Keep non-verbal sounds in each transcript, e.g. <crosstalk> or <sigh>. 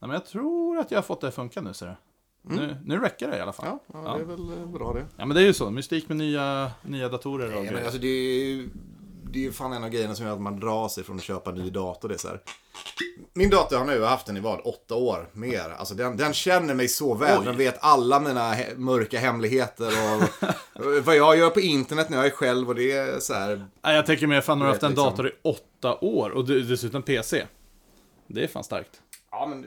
Nej, men jag tror att jag har fått det att funka nu ser du. Nu, nu räcker det i alla fall. Mm. Ja, ja, det är väl eh, bra det. Ja men det är ju så, mystik med nya, nya datorer och Nej, men grejer. alltså det är ju det är ju fan en av grejerna som gör att man drar sig från att köpa ny dator. Det är så här. Min dator har nu haft den i vad, åtta år mer. Alltså den, den känner mig så väl. Oj. Den vet alla mina he- mörka hemligheter och <laughs> vad jag gör på internet när jag är själv och det är så här. Nej, jag tänker mer, fan har du Du haft vet, en liksom. dator i åtta år och du- dessutom PC? Det är fan starkt. Ja men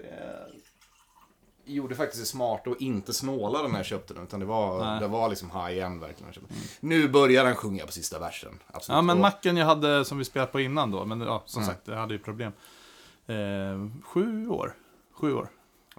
det gjorde faktiskt det smarta och inte snåla när jag köpte den. Utan det var, Nej. det var liksom high-end verkligen. Nu börjar den sjunga på sista versen. Absolut. Ja men Och- macken jag hade som vi spelat på innan då, men ja, som Mm. sagt, jag hade ju problem. Eh, sju år. Sju år.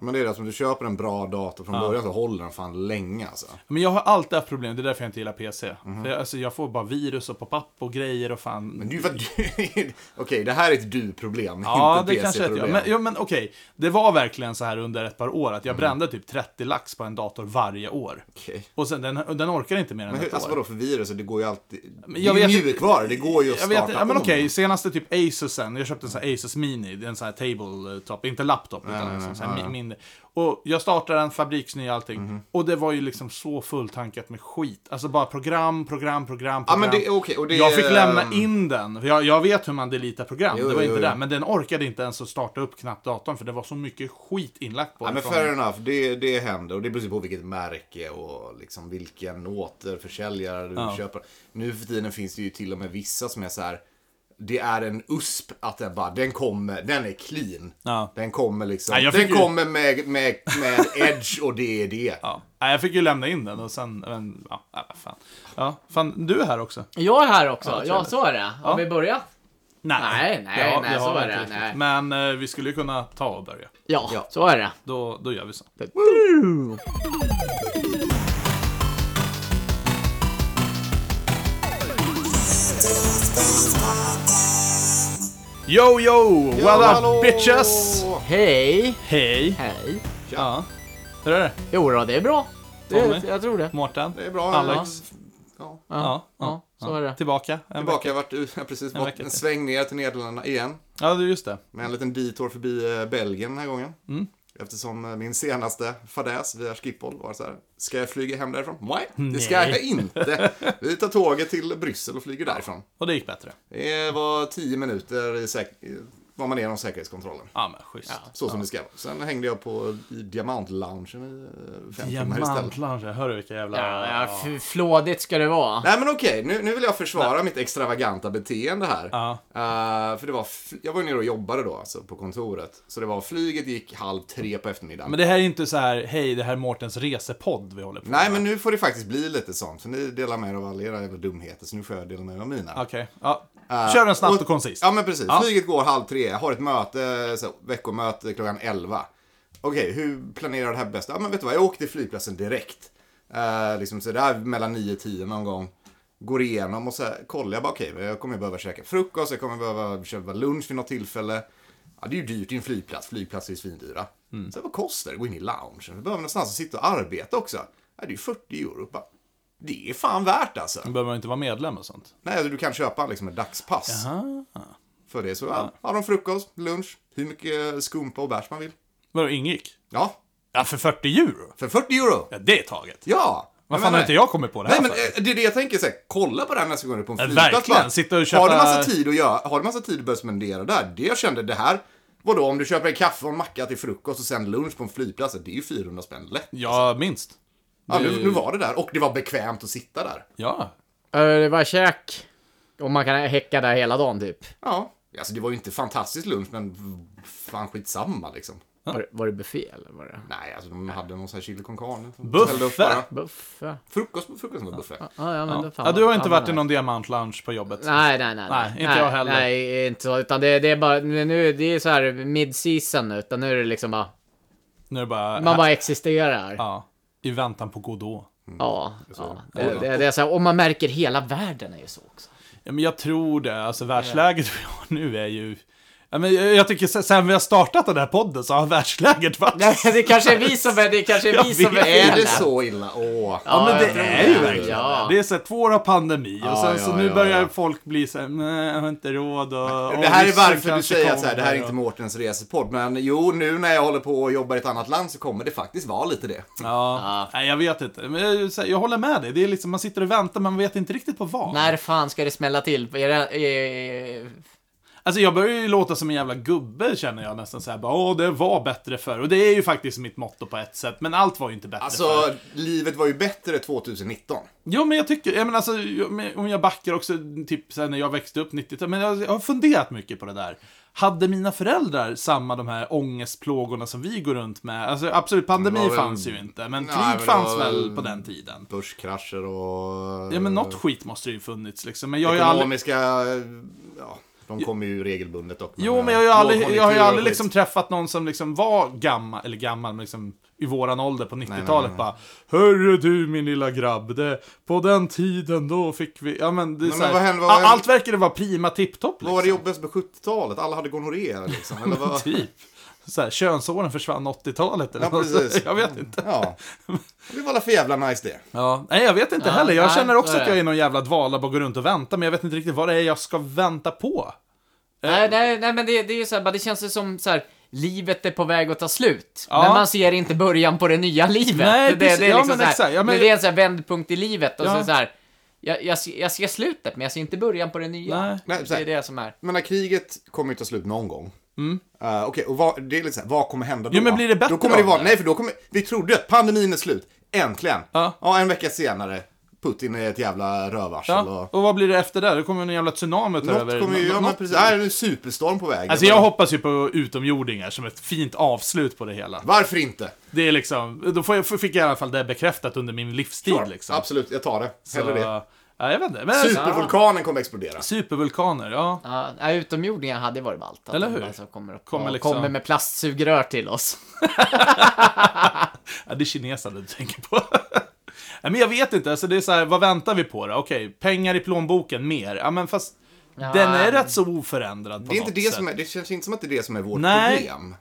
men det är det att om du köper en bra dator från början så håller den fan länge alltså. Men jag har alltid haft problem, det är därför jag inte gillar PC. Mhm. För jag, alltså, jag får bara virus och pop-up och grejer och fan. Men det är ju för att du... <laughs> Okej, det här är ett du-problem, Ja, inte det ett kanske är ett PC-problem. jag. Men, ja, men okej, det var verkligen så här under ett par år att Mm. jag brände typ 30 lax på en dator varje år. Okej. Och sen, den, den orkar inte mer än Men hur, ett alltså år. vadå för virus? Det går ju alltid... Men det jag är ju vet- mjukvara, det går ju att Jag starta vet inte, ja, men om. okej, senaste typ Asusen, jag köpte en sån här Asus Mini, en sån här tabletop, inte laptop, utan en sån här mi- mindre. Och jag startade en fabriksny och allting, Mhm. och det var ju liksom så fulltankat med skit. Alltså bara program, program, program, Ja, program. men det, okej, och det jag fick lämna ehm, in den, för jag, jag vet hur man deletar program, Jo, det var jo, inte jo. det. Men den orkade inte ens att starta upp knappt datorn, för det var så mycket skit inlagt på Ja, den. men från- fair enough, det, det händer. Och det beror på vilket märke och liksom vilken återförsäljare du köper. Nu för tiden finns det ju till och med vissa som är så här... Det är en USP att den bara, den kommer, den är clean. Ja. Den kommer liksom, Ja, jag den fick ju- kommer med, med, <laughs> med edge och E det är det. Ja. Nej, jag fick ju lämna in den och sen, men, ja, nej, vad fan. Ja, fan, du är här också. Jag är här också. Ja, Ja, trevligt. så är det. Har Ja. vi börjat? Nej, nej, det har- nej, det så har vi är inte det, riktigt. nej. Men eh, vi skulle ju kunna ta och börja. Ja, Ja. så är det. Då, då gör vi så. Yo, yo! What up, hallå! bitches! Hej! Hej! Hej! Ja. Hur är det? Jo då, det är bra. Det, Tommy? jag tror det. Mårten? Det är bra. Alex? Ja. Ja, Ja, ja, ja, så ja. är det. Tillbaka. En Tillbaka, vecka. jag har varit ut- jag har precis En varit vecka en till. sväng ner till Nederländerna igen. Ja, det är just det. Med en liten detour förbi eh, Belgien den här gången. Mm. Eftersom eh, min senaste fadäs via Schiphol var så här. Ska jag flyga hem därifrån? Nej, det ska Nej. jag inte. Vi tar tåget till Bryssel och flyger därifrån. Och det gick bättre. Det var tio minuter i säk- i- var man igenom säkerhetskontrollen. Ja, men schysst. Ja. Så som det ska vara. Sen hängde jag på i diamantloungen i eh, fem timmar istället. Diamantlange, hör du vilka jävla... Ja, ja, f- flådigt ska det vara. Nej men okej, nu, nu vill jag försvara mitt extravaganta beteende här. Ja. Eh, för det var, fl- jag var ju nere och jobbade då, alltså på kontoret. Så det var, flyget gick halv tre på eftermiddagen. Men det här är inte så här, hej, det här är Mårtens resepodd vi håller på Nej, med. men nu får det faktiskt bli lite sånt. För ni delar med er av alla era jävla dumheter, så nu får jag dela med mig av mina. Okej, ja. Eh, Kör den snabbt och koncist. Ja, men precis. Ja. Flyget går halv tre, jag har ett möte, så här, veckomöte klockan elva. Okej, hur planerar jag det här bäst? Ja, men vet du vad, jag åker till flygplatsen direkt. Eh, liksom sådär mellan 9-10 någon gång. Går igenom och så här, kollar jag bara, okej, jag kommer behöva käka frukost, jag kommer behöva köpa lunch vid något tillfälle. Ja, det är ju dyrt i en flygplats, flygplatser är ju svindyra. Mm. Så här, vad kostar det att gå in i loungen? Vi behöver någonstans att sitta och arbeta också. Ja, det är ju 40 euro. Bara, Det är fan värt alltså. Då behöver man inte vara medlem och sånt. Nej, alltså, du kan köpa liksom ett dagspass. Jaha. För det så ja, har de frukost, lunch, hur mycket skumpa och bärs man vill. Vadå, ingick? Ja, Ja, för 40 euro? för 40 euro! Ja, det är taget. Ja! Vad fan har inte jag kommit på det här Nej men för? eh, det är det jag tänker så här, kolla på det här nästa gång du är på en Ja, flygplats. verkligen. bara. Sitta och Har köpa- du massa tid att göra, har du massa tid att börja spendera där? Det jag kände, det här, vadå om du köper en kaffe och en macka till frukost och sen lunch på en flygplats, det är ju 400 spänn lätt. Ja, minst. Ja, nu, nu var det där och det var bekvämt att sitta där. Ja. Eh, Det var käk. Och man kan häcka där hela dagen typ. Ja, alltså det var ju inte fantastisk lunch men fan skitsamma liksom. Var, var det buffé eller var det? Nej, alltså de hade någon sån här chili con carne. Buffé. Hällde upp bara. Buffé? Frukost, frukosten var buffé. Ja, ja, men Ja. då fan ja, du har vad- inte varit fan vad i nice. någon diamantlounge på jobbet? Nej, nej, nej. Nej, inte jag heller. Nej, inte så. Utan det, det är bara, nu, det är så här mid-season nu. Utan nu är det liksom bara, Nu är det bara... man bara existerar. Ja. Ja. I väntan på Godot. ja, Så- Det, det, det är så här, och man märker hela världen är ju så också. Ja, men jag tror det. Alltså världsläget vi har nu är ju... Ja, men jag jag tycker sen- sen vi har startat den här podden så har världsläget varit... <laughs> Nej, det kanske är vi som är, det kanske är Jag vi som vet. är Är det där. så illa? Åh. Ja, men jag det tror är ju verkligen Ja. det. är så här, två år av pandemi och Ja, sen så ja, nu ja, börjar ja. folk bli så här, nej, jag har inte råd och... och Det här är ryssen varför du kanske säger att så här, det kommer här är inte och- Mårtens resepodd. Men jo, nu när jag håller på och jobbar i ett annat land så kommer det faktiskt vara lite det. Ja, Ja. Nej, jag vet inte. Men jag, så här, jag håller med dig. Det är liksom, man sitter och väntar, man vet inte riktigt på vad. När fan ska det smälla till? Är det, eh, Alltså jag börjar ju låta som en jävla gubbe känner jag nästan så här. bara, Åh, det var bättre förr. Och det är ju faktiskt mitt motto på ett sätt. Men allt var ju inte bättre förr. Alltså, <laughs> livet var ju bättre 2019. Jo, men jag tycker, jag menar, alltså, jag- men om jag backar också, typ sen när jag växte upp 90-talet, men jag, jag har funderat mycket på det där. Hade mina föräldrar samma de här ångestplågorna som vi går runt med? Alltså absolut, pandemi Det var väl- fanns ju inte, men Nej, krig men det fanns var väl väl- på den tiden. Börskrascher och... Ja, men något skit måste ju funnits liksom. Men jag har ju aldrig... Ekonomiska... Ja, de kommer ju regelbundet dock. Jo, men jag har ju aldrig, jag har ju aldrig liksom träffat någon som liksom var gammal, eller gammal, men liksom i våran ålder på 90-talet bara Hörru du min lilla grabb, det, på den tiden då fick vi... Ja men, det är men så här, vad hände- vad hände? allt verkade vara prima tipptopp liksom. Vad var det jobbigaste på 70-talet? Alla hade gonorré liksom. <laughs> Eller vad... Typ. Så här, könsåren försvann 80-talet eller Ja, något. precis. Jag vet inte. Ja. Typ. Det var alla för jävla nice det. Ja. Nej, jag vet inte Ja, heller. Jag nej, känner också så är att jag det. är någon jävla dvala bara går runt och väntar, men jag vet inte riktigt vad det är jag ska vänta på. nej, nej, nej, men det, det är ju så här, bara det känns ju som så här, livet är på väg att ta slut. Ja. Men man ser inte början på det nya livet. Nej, det, det, precis. det är Ja, liksom men så här, exakt. Ja, men- Det är en så här vändpunkt i livet och Ja. så, så här, jag, jag, ser- jag ser slutet, men jag ser inte början på det nya. Nej. Nej, så Det här, är det som är. Men när kriget kommer ju ta slut någon gång. Eh, Okej, och vad, det är lite så här, vad kommer hända då? Mm. Jo, men blir det bättre då? Kommer det då, vara, eller? nej, för då kommer, vi trodde att pandemin är slut. Äntligen. Ja. en vecka senare. Putin är ett jävla rövarsel. Ja. Och, Och vad blir det efter det? Det kommer en jävla tsunami att ta något över. kommer ju, Nå- ja, men något- precis, här är en superstorm på väg. Alltså jag hoppas ju på utomjordingar som ett fint avslut på det hela. Varför inte? Det är liksom, då får jag, fick jag i alla fall det bekräftat under min livstid Sure, liksom. Absolut, jag tar det. Så, Hellre det. ja, jag vet inte. Men, Supervulkanen kommer explodera. Supervulkaner, ja. Ja, nej, utomjordingar hade varit ballt. att Eller de hur? bara så kommer, och, Kommer kommer, liksom- kommer med plastsugrör till oss. Ja, det är kineserna du tänker på. <laughs> Nej, men jag vet inte, alltså det är så här, vad väntar vi på då? Okej, pengar i plånboken, mer. Ja, men fast Ja. den är rätt så oförändrad på Det, är inte något det, sätt. som är, det känns inte som att det är det som är vårt Nej. problem.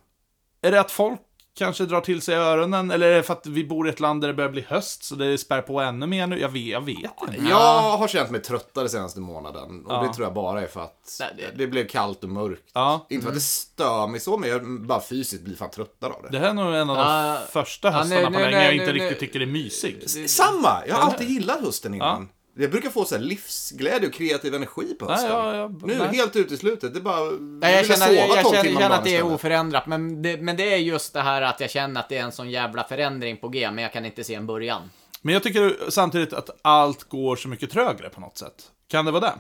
Är det att folk kanske drar till sig öronen? Eller är det för att vi bor i ett land där det börjar bli höst, så det spär på ännu mer nu? Jag vet, jag vet inte. Jag har känt mig tröttare senaste månaden. Och det tror jag bara är för att Nej, det- det blev kallt och mörkt. Ja. Inte för att det stör mig så, men jag bara fysiskt blir fan tröttare av det. Det här är nog en av de Ja. första Ja, nu- höstarna på nu- länge nu- jag nu- inte nu- riktigt tycker är mysig. Samma! Jag har alltid gillat hösten innan. Jag brukar få så här livsglädje och kreativ energi på hösten. ja, ja, nu nej. helt ut i slutet. Det är bara... Nej, jag vill känner, jag, sova jag tolv känner, timmar om känner att dagen det är istället. oförändrat, men det, men det är just det här att jag känner att det är en sån jävla förändring på G, men jag kan inte se en början. Men jag tycker samtidigt att allt går så mycket trögare på något sätt. Kan det vara det?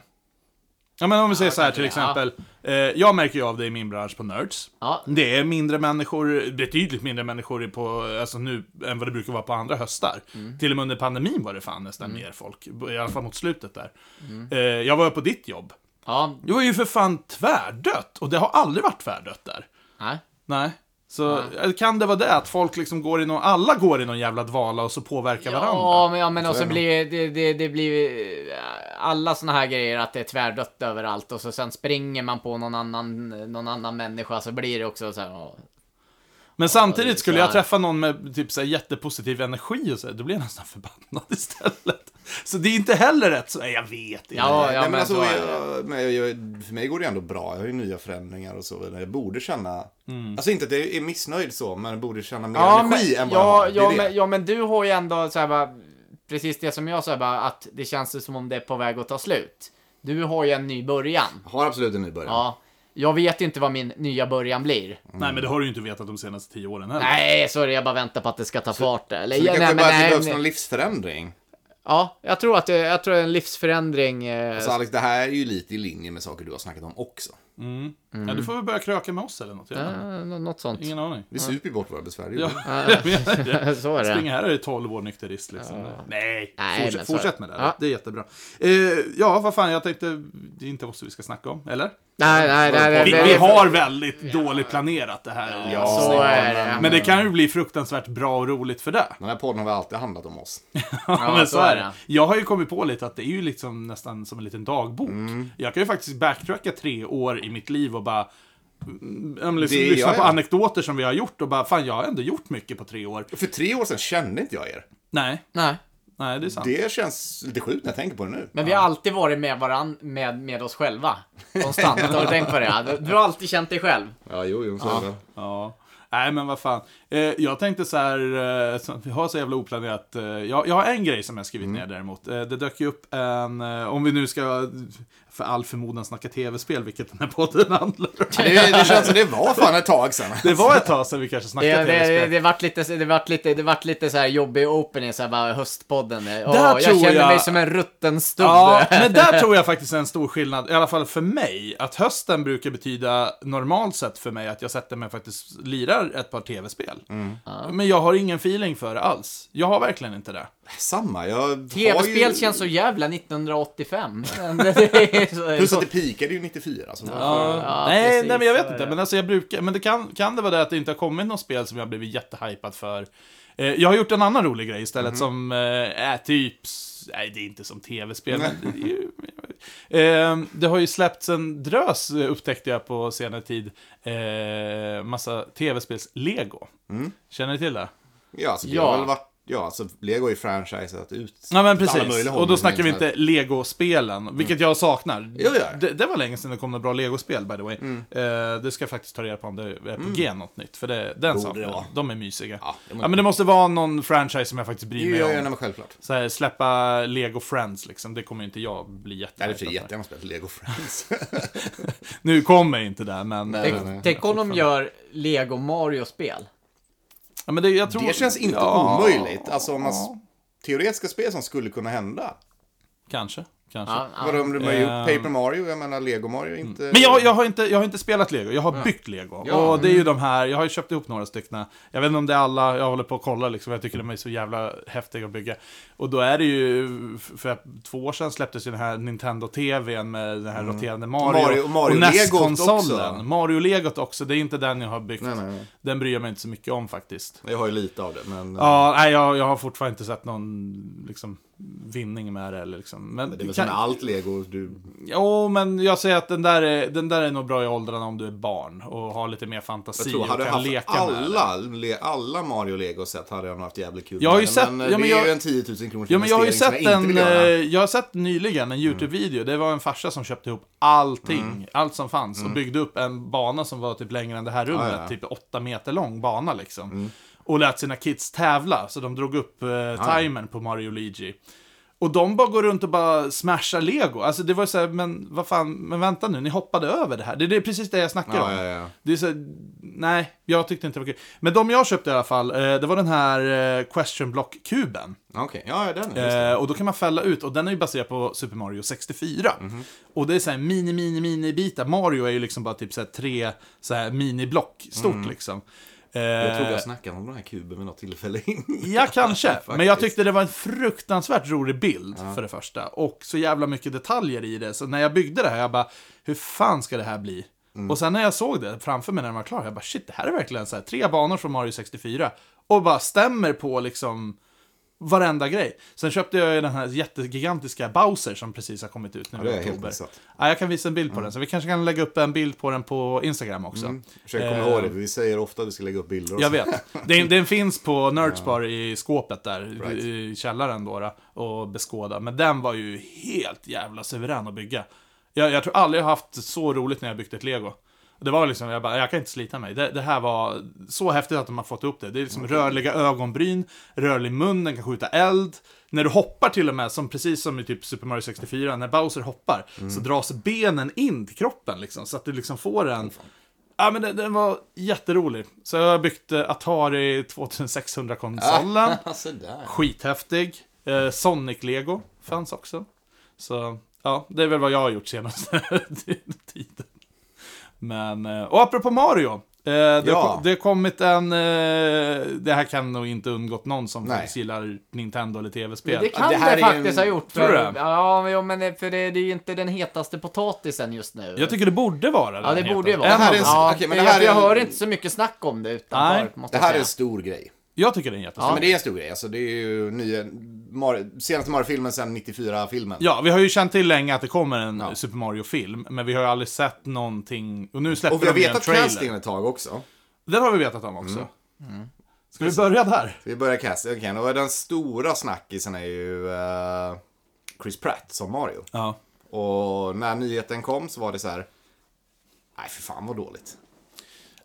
Ja, men om vi säger så här till kanske det, exempel. Eh, jag märker ju av det i min bransch på Nerds. Ja. Det är mindre människor, betydligt mindre människor på, alltså nu än vad det brukar vara på andra höstar. Mm. Till och med under pandemin var det fan nästan mer folk. I alla fall mot slutet där. Mm. Eh, jag var ju på ditt jobb. Ja, Det var ju för fan tvärdött. Och det har aldrig varit tvärdött där. nej. Nej. Så kan det vara det att folk liksom går i någon, alla går i någon jävla dvala och så påverkar varandra? Ja, men, ja, men och så blir det, det, det blir eh, alla såna här grejer att det är tvärdött överallt och så sen springer man på någon annan, någon annan människa så blir det också så här. ja. Men det är samtidigt så skulle jag här. träffa någon med typ så här jättepositiv energi och så, här, då blir jag nästan förbannad <laughs> istället. Så det är inte heller rätt så, nej jag vet inte. Ja, Nej, ja, men, men alltså, så är det. jag, men jag, jag, för mig går det ändå bra. Jag har ju nya förändringar och så vidare. Jag borde känna, alltså inte att jag är missnöjd så, men jag borde känna mer energi än vad jag Mm. ja, har. Det är ja, det. men, ja, men du har ju ändå så här bara, precis det som jag sa bara, att det känns ju som om det är på väg att ta slut. Du har ju en ny början. Jag har absolut en ny början. Ja. Jag vet ju inte vad min nya början blir. Nej men det har du ju inte vetat de senaste tio åren heller. Nej, så är det. Jag bara väntar på att det ska ta fart. Eller, Så det ja, kanske nej, bara men, att det nej, behövs någon nej. livsförändring. Ja, jag tror att det, jag tror en livsförändring. Eh, Alltså Alex, det här är ju lite i linje med saker du har snackat om också. Ja, Mm. du får väl börja kröka med oss eller något. Jag vet inte. eh, nå- något sånt. Ingen aning. Vi super ju bort våra besvär. Ja, Ja. <laughs> jag menar det. <laughs> så är Springa det. här är det 12 år nykterist liksom. Nej, Nej, fortsätt, men så- fortsätt med det. Ja. Det är jättebra. Eh, ja, vad fan, jag tänkte, det är inte oss vi ska snacka om, eller? Nej, nej, nej. nej, Vi, nej. vi har väldigt dåligt planerat det här. Ja, så men- är det. Men det kan ju bli fruktansvärt bra och roligt för det. <laughs> Den här podden har väl alltid handlat om oss. Ja, men så är det. det. Jag har ju kommit på lite att det är ju liksom nästan som en liten dagbok. Jag kan ju faktiskt backtracka tre år i mitt liv och bara ja, men liksom, Det är lyssna jag, på ja. anekdoter som vi har gjort och bara, fan jag har ändå gjort mycket på tre år. För tre år sedan kände inte jag er. Nej, Nej. nej det är sant. Det känns lite sjukt när jag tänker på det nu. Men vi har alltid varit med varann, med, med oss själva. <laughs> Konstant. Har du tänkt på det? Du har alltid känt dig själv. Ja, jo, jo, så är det. Ja. Nej, men vad fan. Eh, jag tänkte så här, eh, så- vi har så jävla oplanerat. Eh, jag, jag har en grej som jag skrivit Mm. ner däremot. Eh, det dök ju upp en, eh, om vi nu ska för all förmodan snacka tv-spel, vilket den här podden <laughs> handlar om. det. Det känns som det var fan ett tag sedan. Det var ett tag sedan vi kanske snackade Det, det, det, tv-spel. det vart lite, det vart lite, det vart lite så här jobbig opening, så här bara höstpodden. Åh, Där jag tror känner jag- mig som en rutten stubbe. <laughs> Ja, men där tror jag faktiskt är en stor skillnad, i alla fall för mig, att hösten brukar betyda normalt sett för mig att jag sätter mig och faktiskt lirar ett par tv-spel. Mm. Men jag har ingen feeling för det alls. Jag har verkligen inte det. Samma, jag har ju- Tv-spel känns så <laughs> jävla 1985. <laughs> Det är så- Plus att det peakade ju 94. Så Ja, Ja, nej, precis, nej, men jag så vet är inte. det. Men, alltså, jag brukar, men det kan, kan det vara det att det inte har kommit något spel som jag blivit jättehypad för. Eh, jag har gjort en annan rolig grej istället som eh, är typ... s- Nej, det är inte som tv-spel. men det, är ju, <laughs> eh, det har ju släppts en drös, eh, upptäckte jag på senare tid, eh, massa tv-spels-lego. Känner ni till det? Ja, så det Ja. har väl varit... Ja, så Lego är ju franchisat ut. Ja men åt alla möjliga precis, håll. och då snackar vi inte Lego-spelen, vilket jag saknar. Mm. Jo, ja. Mm. Det, det var länge sedan det kom några bra Lego-spel by the way. Eh, det ska jag faktiskt ta reda på om det är på G något nytt, för det, den saknar det jag. Mm. vara. De är mysiga. Ja, Ja, det må- men det måste vara någon franchise som jag faktiskt bryr Jo, mig ja, om. ja, nej, men självklart. Så här, släppa Lego Friends liksom, det kommer ju inte jag bli Jag hade jättehypad för sig för. jättegärna spelat Lego Friends. Nu kommer jag inte där, men... Nej. eh, Tänk, tänk om de gör Lego Mario-spel. Ja, men det, jag tror... Det känns inte ja, omöjligt. Alltså om man... s- Teoretiska spel som skulle kunna hända. Kanske, kanske. Ja, ja. Vadå om de har gjort Ehm. Paper Mario? Jag menar Lego Mario är inte... Mm. Men jag, jag, har inte, jag har inte spelat lego, jag har byggt lego. Ja. Mm. Och det är ju de här, jag har ju köpt ihop några stycken. Jag vet inte om det är alla, jag håller på att kolla liksom, jag tycker de är så jävla häftiga att bygga. Och då är det ju, för två år sedan släpptes ju den här Nintendo TVn med den här Mm. roterande Mario. E Mario- och Mario-legot också. Mario-legot också, det är inte den jag har byggt. Nej, nej, nej. Den bryr jag mig inte så mycket om faktiskt. Jag har ju lite av det, men... eh, Ja, nej, jag, jag har fortfarande inte sett någon liksom, vinning med det. Eller, liksom. Men, Det är väl kan- som med allt Lego. Du... Jo, men jag säger att den där är, den där är nog bra i åldrarna om du är barn och har lite mer fantasi Jag tror, och hade jag kan haft leka med det. alla, le, alla Mario Lego sett hade jag nog haft jävligt kul Jag har ju med det, sett- men, eh, ja, men det jag- är ju en 10 000 kronors Ja, men jag har ju investering som sett jag inte en, vill göra. Mm. eh, jag har sett nyligen en YouTube-video. Det var en farsa som köpte ihop allting, allt som fanns och byggde upp en bana som var typ längre än det här rummet, Mm. Ah, Ja, Mm. ja. typ åtta meter lång bana liksom. Och lät sina kids tävla, så de drog upp eh, Ah, timern på Mario Luigi. Och de bara går runt och bara smashar lego. Alltså det var så här, men vad fan, men vänta nu, ni hoppade över det här. Det, det är precis det jag snackar Ah, Ja, om. ja, ja. Det är så, nej, jag tyckte inte det var kul. Men de jag köpte i alla fall, eh, det var den här eh, question block-kuben. Okej, ja, ja, den. just det. Eh, och då kan man fälla ut, och den är ju baserad på Super Mario 64. Mhm. Och det är så här mini, mini, mini-bitar. Mario är ju liksom bara typ så här tre så här miniblock stort Mm. liksom. Eh, Jag tror jag snackade om den här kuben vid något tillfälle <laughs> innan. Ja, <laughs> kanske. Men jag tyckte det var en fruktansvärt rolig bild, för det första. Och så jävla mycket detaljer i det. Så när jag byggde det här, jag bara, hur fan ska det här bli? Mm. Och sen när jag såg det framför mig när den var klar, jag bara, shit, det här är verkligen så här, tre banor från Mario 64. Och bara stämmer på liksom varenda grej. Sen köpte jag ju den här jättegigantiska Bowser som precis har kommit ut nu det har i jag helt oktober. missat. Ja, jag kan visa en bild på den, så vi kanske kan lägga upp en bild på den på Instagram också. Försök komma Eh, ihåg det, för vi säger ofta att vi ska lägga upp bilder och jag så. <laughs> vet. Den, den finns på Nerdspar i skåpet där, Right. i källaren då, då, och beskåda. Men den var ju helt jävla suverän att bygga. Jag, jag tror aldrig jag haft så roligt när jag byggt ett lego. Det var liksom, jag bara, jag kan inte slita mig. Det, det här var så häftigt att de har fått upp det. Det är liksom rörliga ögonbryn, rörlig mun, den kan skjuta eld. När du hoppar till och med, som precis som i typ Super Mario 64, när Bowser hoppar, så dras benen in till kroppen liksom. Så att du liksom får en... Ja, men den, den var jätterolig. Så jag har byggt eh, Atari <laughs> 2600-konsolen. Ah, så där. Skithäftig. Eh, Sonic-lego fanns också. Så, ja, det är väl vad jag har gjort senaste <laughs> tiden. Men, eh, och apropå Mario. eh, Det, Ja. har, det har kommit en... eh, Det här kan nog inte undgått någon som Nej. faktiskt gillar Nintendo eller TV-spel. Men det kan det det, här är ju en- faktiskt ha gjort. Tror du det? Ja, men- jo, men det- för det, det är ju inte den hetaste potatisen just nu. Jag tycker det borde vara ja, det den borde ju heter. vara. En Det här av är en- dem. ja, okej, men men det här jag, är jag en- hör inte så mycket snack om det utanför, Nej, måste Det jag här är säga. en stor grej. Jag tycker det är en jättestor Men det är en stor grej. Alltså, det är ju nya, Mario, senaste Mario-filmen sen 94-filmen. Ja, vi har ju känt till länge att det kommer en Super Mario-film, men vi har ju aldrig sett någonting. Och nu släpper Och vi har de ju en vetat Mm. trailer. castingen ett tag också. Den har vi vetat om också. Mm. Ska vi börja där? Vi börjar castingen. Okej, och den stora snackisen är ju eh, Chris Pratt som Mario. Ja. Och när nyheten kom så var det så här. Nej, för fan vad dåligt.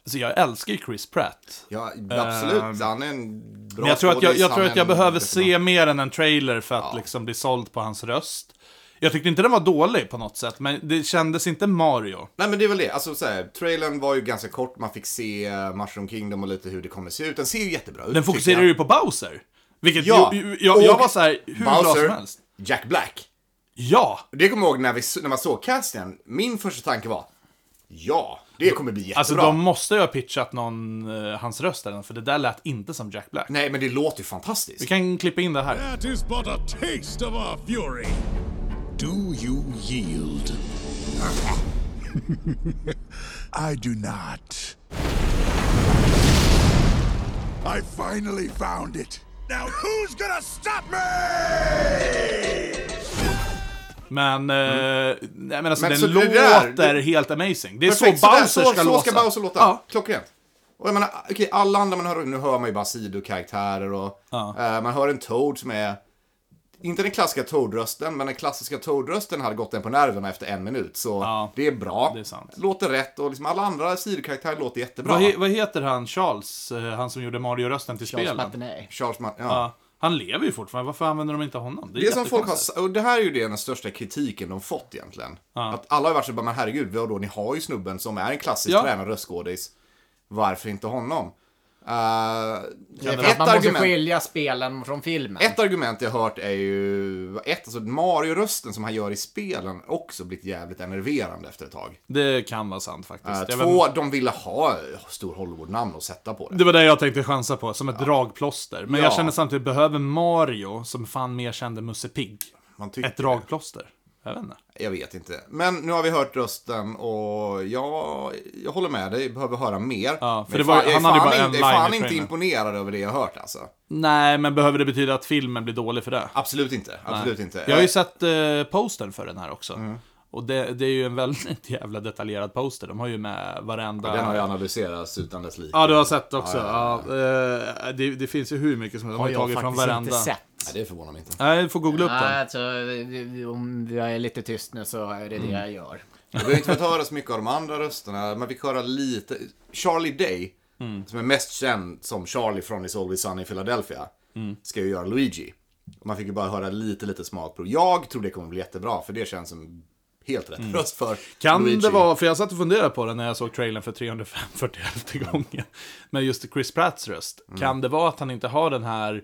Alltså, jag älskar ju Chris Pratt. Ja, absolut. han är en bra Eh, Men jag tror att jag, skådis, jag, han tror är att jag en- behöver se mer än en trailer för att liksom bli såld på hans röst. Jag tyckte inte den var dålig på något sätt, men det kändes inte Mario. Nej men det är väl det. Alltså så här, trailern var ju ganska kort. Man fick se eh, Mushroom Kingdom och lite hur det kommer se ut. Den ser ju jättebra ut. Den fokuserar ju på Bowser. Vilket Ja, ju, ju- jag, jag och var så här, hur bra som helst. Jack Black. Ja! Det kommer jag ihåg när, vi, när man såg casten. Min första tanke var, ja, det kommer bli jättebra. Alltså de måste ju ha pitchat någon, eh, hans röst eller något, för det där lät inte som Jack Black. Nej, men det låter ju Vi fantastiskt. kan klippa in det här. That is but a taste of our fury. Do you yield? <laughs> I do not. I finally found it. Now who's gonna stop me? Men, eh, nej, men alltså Mm. Men den så det där- låter helt amazing. Det är Perfekt, så sådär, Bowser så, ska så låta. ska Bowser låta. Ja. Klockrent. Och jag menar, okej, alla andra man hör, nu hör man ju bara sidokaraktärer och eh, man hör en Toad som är, inte den klassiska Toad-rösten, men den klassiska Toad-rösten hade gått en på nerverna efter en minut. Så Ja, det är bra. det är sant. Låter rätt och liksom alla andra sidokaraktärer låter jättebra. Vad, he, vad heter han, Charles, eh, han som gjorde Mario-rösten till Charles spelen? Martinet. Charles Martin, ja. Ja, han lever ju fortfarande, varför använder de inte honom? Det är som folk jättekonstigt. har, och det här är ju det, den största kritiken de fått egentligen. Att alla har varit så bara, men herregud, vadå, ni har ju snubben som är en klassisk Ja. tränad röstskådis. Varför inte honom? Eh, Det är för att ett, man måste argument, skilja spelen från filmen. ett argument jag hört är ju, ett, alltså Mario-rösten som han gör i spelen också blivit jävligt enerverande efter ett tag. Det kan vara sant faktiskt. Eh, Jag vet två, de ville ha eh, stor Hollywood-namn att sätta på det. Det var det jag tänkte chansa på, som ett dragplåster. Men jag Ja. känner samtidigt, behöver Mario, som fan mer kände Musse Pigg, Man tycker ett dragplåster? Jag vet inte. Jag vet inte. Men nu har vi hört rösten och jag, jag håller med dig, behöver höra mer. Ja, för Men det var- fan- jag är han hade ju fan bara en inte, line Jag i är fan inte trailern. imponerad över det jag har hört alltså. Nej, men behöver det betyda att filmen blir dålig för det? Absolut inte. Absolut inte. Jag har ju sett eh, postern för den här också. Och det, det är ju en väldigt <laughs> jävla detaljerad poster. De har ju med varenda... Den har ju analyserats utan dess like. Ja, du har sett också. Ja, eh, det, det finns ju hur mycket som helst. De har ju tagit från varenda. inte sett. Nej, det förvånar mig inte. Nej, du får googla upp Nej, den. alltså, om jag är lite tyst nu så är det Mm. det jag gör. Vi har ju inte fått höra så mycket av de andra rösterna. Man fick höra lite. Charlie Day, Mm. som är mest känd som Charlie från Is Always Sunny i Philadelphia, Mm. ska ju göra Luigi. Och man fick ju bara höra lite, lite smakprov. Jag tror det kommer bli jättebra, för det känns som helt rätt röst för Mm. Kan Luigi. det vara, för jag satt och funderade på det när jag såg trailern för 341 <laughs> gången, med just Chris Pratts röst. Kan det vara att han inte har den här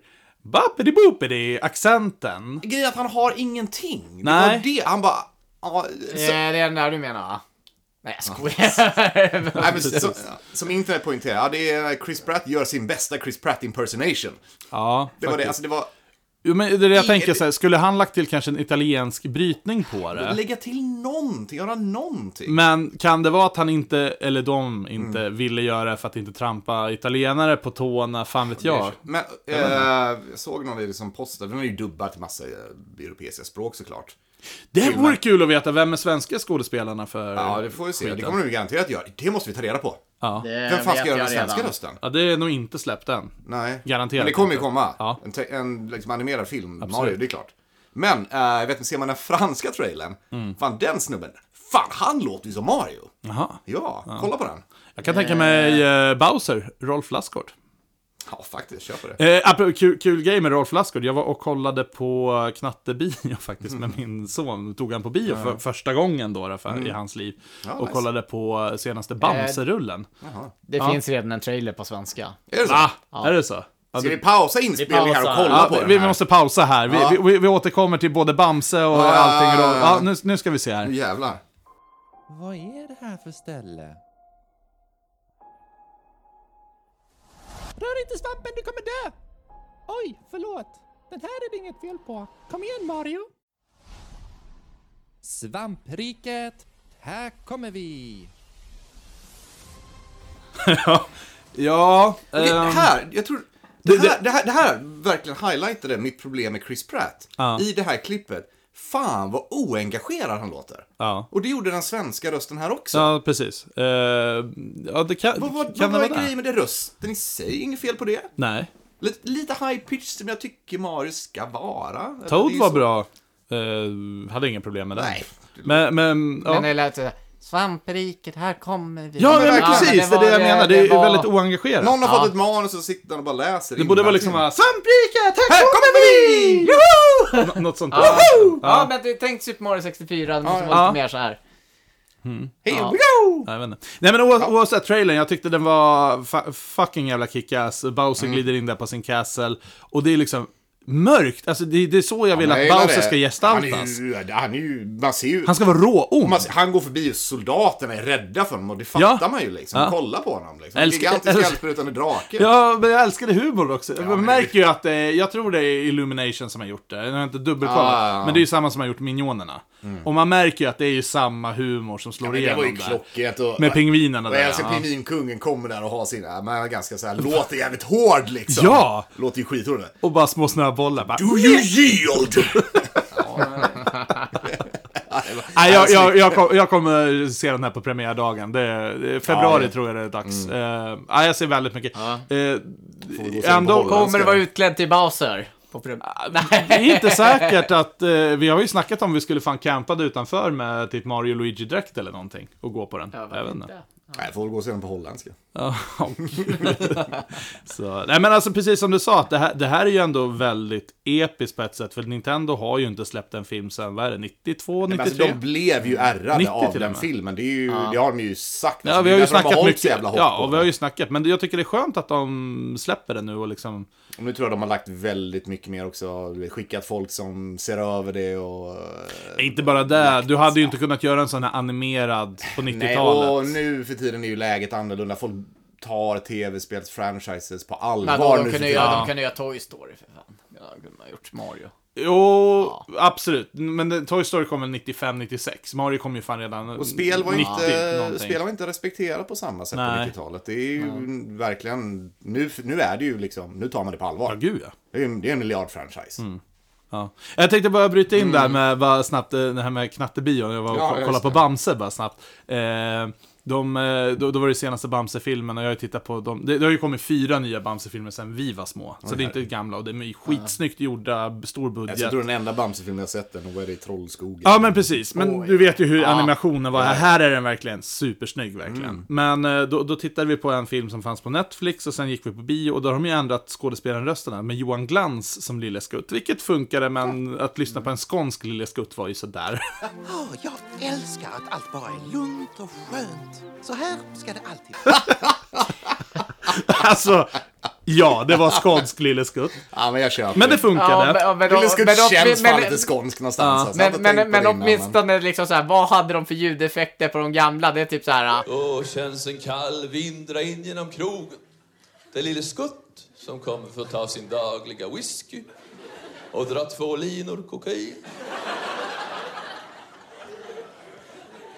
bappidi-boopidi-accenten? grejen är att han har ingenting. Nej. Det var det. Han bara... Ja, Eh, så, Det är den där du menar va? Nej, jag <laughs> skojar. <laughs> nej, men, så, som internet poängterar, ja, det är Chris Pratt gör sin bästa Chris Pratt impersonation. Ja, Det var det, alltså det var... Jo, men det är det jag tänker så här, skulle han lagt till kanske en italiensk brytning på det? Lägga till någonting, göra någonting. Men kan det vara att han inte, eller de inte, Mm. ville göra det för att inte trampa italienare på tårna, fan vet jag. Men eh, jag såg någon liksom posta, den är ju dubbad till massa eh, europeiska språk såklart. Det vore kul att veta, vem är svenska skådespelarna för... Ja, det får vi se. Eh, Eh, Det kommer de ju garanterat göra. Det måste vi ta reda på. Ja. Vem fan ska göra den svenska rösten? ja, det är nog inte släppt än. Nej. Garanterat Men det kommer ju inte. komma. Ja. En, te- en liksom animerad film, Mario, det är klart. Men, eh, jag vet inte, ser man den franska trailern? Mm. Fan, den snubben. Fan, han låter ju som Mario. Jaha. Ja, kolla på den. Jag kan tänka mig eh, Bowser, Rolf Lassgård. Ja, faktiskt, kör på det. Eh, apropå kul, kul grej med Rolf Lassgård, jag var och kollade på Knattebio <laughs> faktiskt Mm. med min son. Tog han på bio för första gången då, då för, i hans liv. och Mm. nice. Eh, alltså, kollade på eh, senaste Bamserullen. Det finns redan en trailer på svenska. Är det så? Ah, är det så? Ja, Ska det- vi pausa inspelningen här och pausar. kolla Ja, på den vi, vi här? måste pausa här. Vi, Ja. vi, vi, vi återkommer till både Bamse och Ja, allting. ja, ja, Ja, ja. ja, nu, nu ska vi se här. Jävlar. Ehm, Vad är det här för ställe? Rör inte svampen, du kommer dö! Oj, förlåt. Den här är det inget fel på. Kom igen Mario! Svampriket! Här kommer vi! Ja, Det ehm, Eh, här, jag tror... Det, här, det, här, det här verkligen highlightade mitt problem med Chris Pratt. Ja. I det här klippet. Fan vad oengagerad han låter. Ja. Och det gjorde den svenska rösten här också. Ja, precis. Eh, ja, det kan, Vad, vad, kan vad det var grejen med det rösten i sig? Inget fel på det. Nej. Lite, lite high pitch som jag tycker Marius ska vara. Det är Toad ju var så- bra. Eh, hade inga problem med det. Nej. Men, men, ja. Men eh, det lät såhär, svampriket, här kommer vi. ja, men, verkligen. precis. Det var är det jag menar. Det är var- väldigt oengagerat. Någon har Ja. fått ett manus och så sitter han och bara läser. det borde innantill. vara liksom bara, Svampriket, här, kommer vi! "Nå- något sånt. Ja, ja. Ja. men det- tänk Super Mario 64, det måste Ja, vara ja. lite mer så här. Here Ja. we go! Nej, jag vet inte. Nej men oa- oavsett trailern, jag tyckte den var fa- fucking jävla kickass. Bowser Mm. glider in där på sin castle. Och det är liksom mörkt. Alltså det, det är så jag vill Jag att gillar Bowser det. ska gestaltas. Han, är ju, han är ju, man ser ju... Han ska vara råond. Man, ser- han går förbi och soldaterna är rädda för honom och det fattar Ja. man ju liksom. Ja. Kolla på honom liksom. Älskar- Gigantisk älskar- eldsprutande drake. Ja, men jag älskade humor också. man men- märker ju att det är, jag tror det är Illumination som har gjort det. Jag har inte dubbelkollat. Ah, ja, ja. Men det är ju samma som har gjort Minionerna. Och man märker ju att det är ju samma humor som slår Men det igenom var ju där. klockrent. Och, Med pingvinerna och där, jag älskar ja. pingvinkungen kommer där och har sin, ja, men han är ganska så här, låter jävligt hård liksom. Ja! Låter ju skithård. Och bara små snöbollar. Bara. Do you yield? Nej, jag, jag, jag, kom, jag kommer se den här på premiärdagen. Det är, det är februari Ja. Mm. tror jag det är dags. Eh, ja, jag ser väldigt mycket. Eh, vi gå och se den på ändå Holland. kommer Kommer du vara utklädd till Bowser? På prim- Ah, <laughs> det är inte säkert att, eh, vi har ju snackat om vi skulle fan campa där utanför med typ Mario Luigi-dräkt eller någonting och gå på den. Ja, jag varför vet inte. inte? Nej, får väl gå och se den på holländska. Ja, gud. så, nej men alltså precis som du sa, att det här, det här är ju ändå väldigt episkt på ett sätt. För Nintendo har ju inte släppt en film sen, vad är det, 92, Men 93? alltså, de blev ju ärrade 90 av till den och med. filmen. Det, är ju, det har de ju sagt. Ja, Alltså, vi det har är ju därför de snackat hållit mycket. så jävla hårt ja, på och vi det. har ju snackat. Men jag tycker det är skönt att de släpper det nu och liksom... Och nu tror jag de har lagt väldigt mycket mer också. Du vet, Skickat folk som ser över det och... Inte bara det, du hade ju inte kunnat göra en sån här animerad på Nej, och 90-talet. nu för tiden är ju läget annorlunda. Folk tar tv-spels-franchises på Men då, allvar de, nu för kunde tiden. göra, de kunde göra Toy Story för fan. Ja, de kunde ha gjort Mario. Jo, absolut. Men det- Toy Story kom väl 95-96? Mario kom ju fan redan Och spel var, ju 90 inte, någonting. spel var inte respekterat på samma sätt Nej. på 90-talet. Det är ju verkligen... Nu, nu är det ju liksom... Nu tar man det på Ja, allvar. gud ja. Det är ju det är en miljardfranchise. Mm. Ja. Jag tänkte bara bryta in där med bara snabbt, eh, det här med knattebion. Jag var och Mm. Ja, ko- just kollade på det. Bamse bara snabbt. Eh, de, eh, då, då var det senaste Bamse-filmen och jag har ju tittat på dem. Det, det har ju kommit fyra nya Bamse-filmer sen vi var små. Så det är inte gamla och de är ju skitsnyggt gjorda, stor budget. Jag tror den enda Bamse-film jag sett är nog är det i Trollskogen. Ja men precis, men du vet ju hur animationen var. Här är den verkligen supersnygg Mm. verkligen. Men eh, då, då tittade vi på en film som fanns på Netflix och sen gick vi på bio och då har de ju ändrat skådespelarrösterna med Johan Glans som Lille Skutt. Vilket funkade men att lyssna på en skånsk Lille Skutt var ju sådär. <laughs> Åh, jag älskar att allt bara är lugnt och skönt. Så här ska det alltid vara. alltså, ja det var skånsk Lille Skutt. Ja, men jag köper Men det funkade. men, men, Lille Skutt känns fan men, lite skånsk någonstans. alltså. Jag men, har inte men, men, tänkt på det innan, åtminstone liksom så här, vad hade de för ljudeffekter på de gamla? Det är typ så här. Då känns en kall vind dra in genom krogen. Det är lille Skutt som kommer för att ta sin dagliga whisky och dra två linor kokain.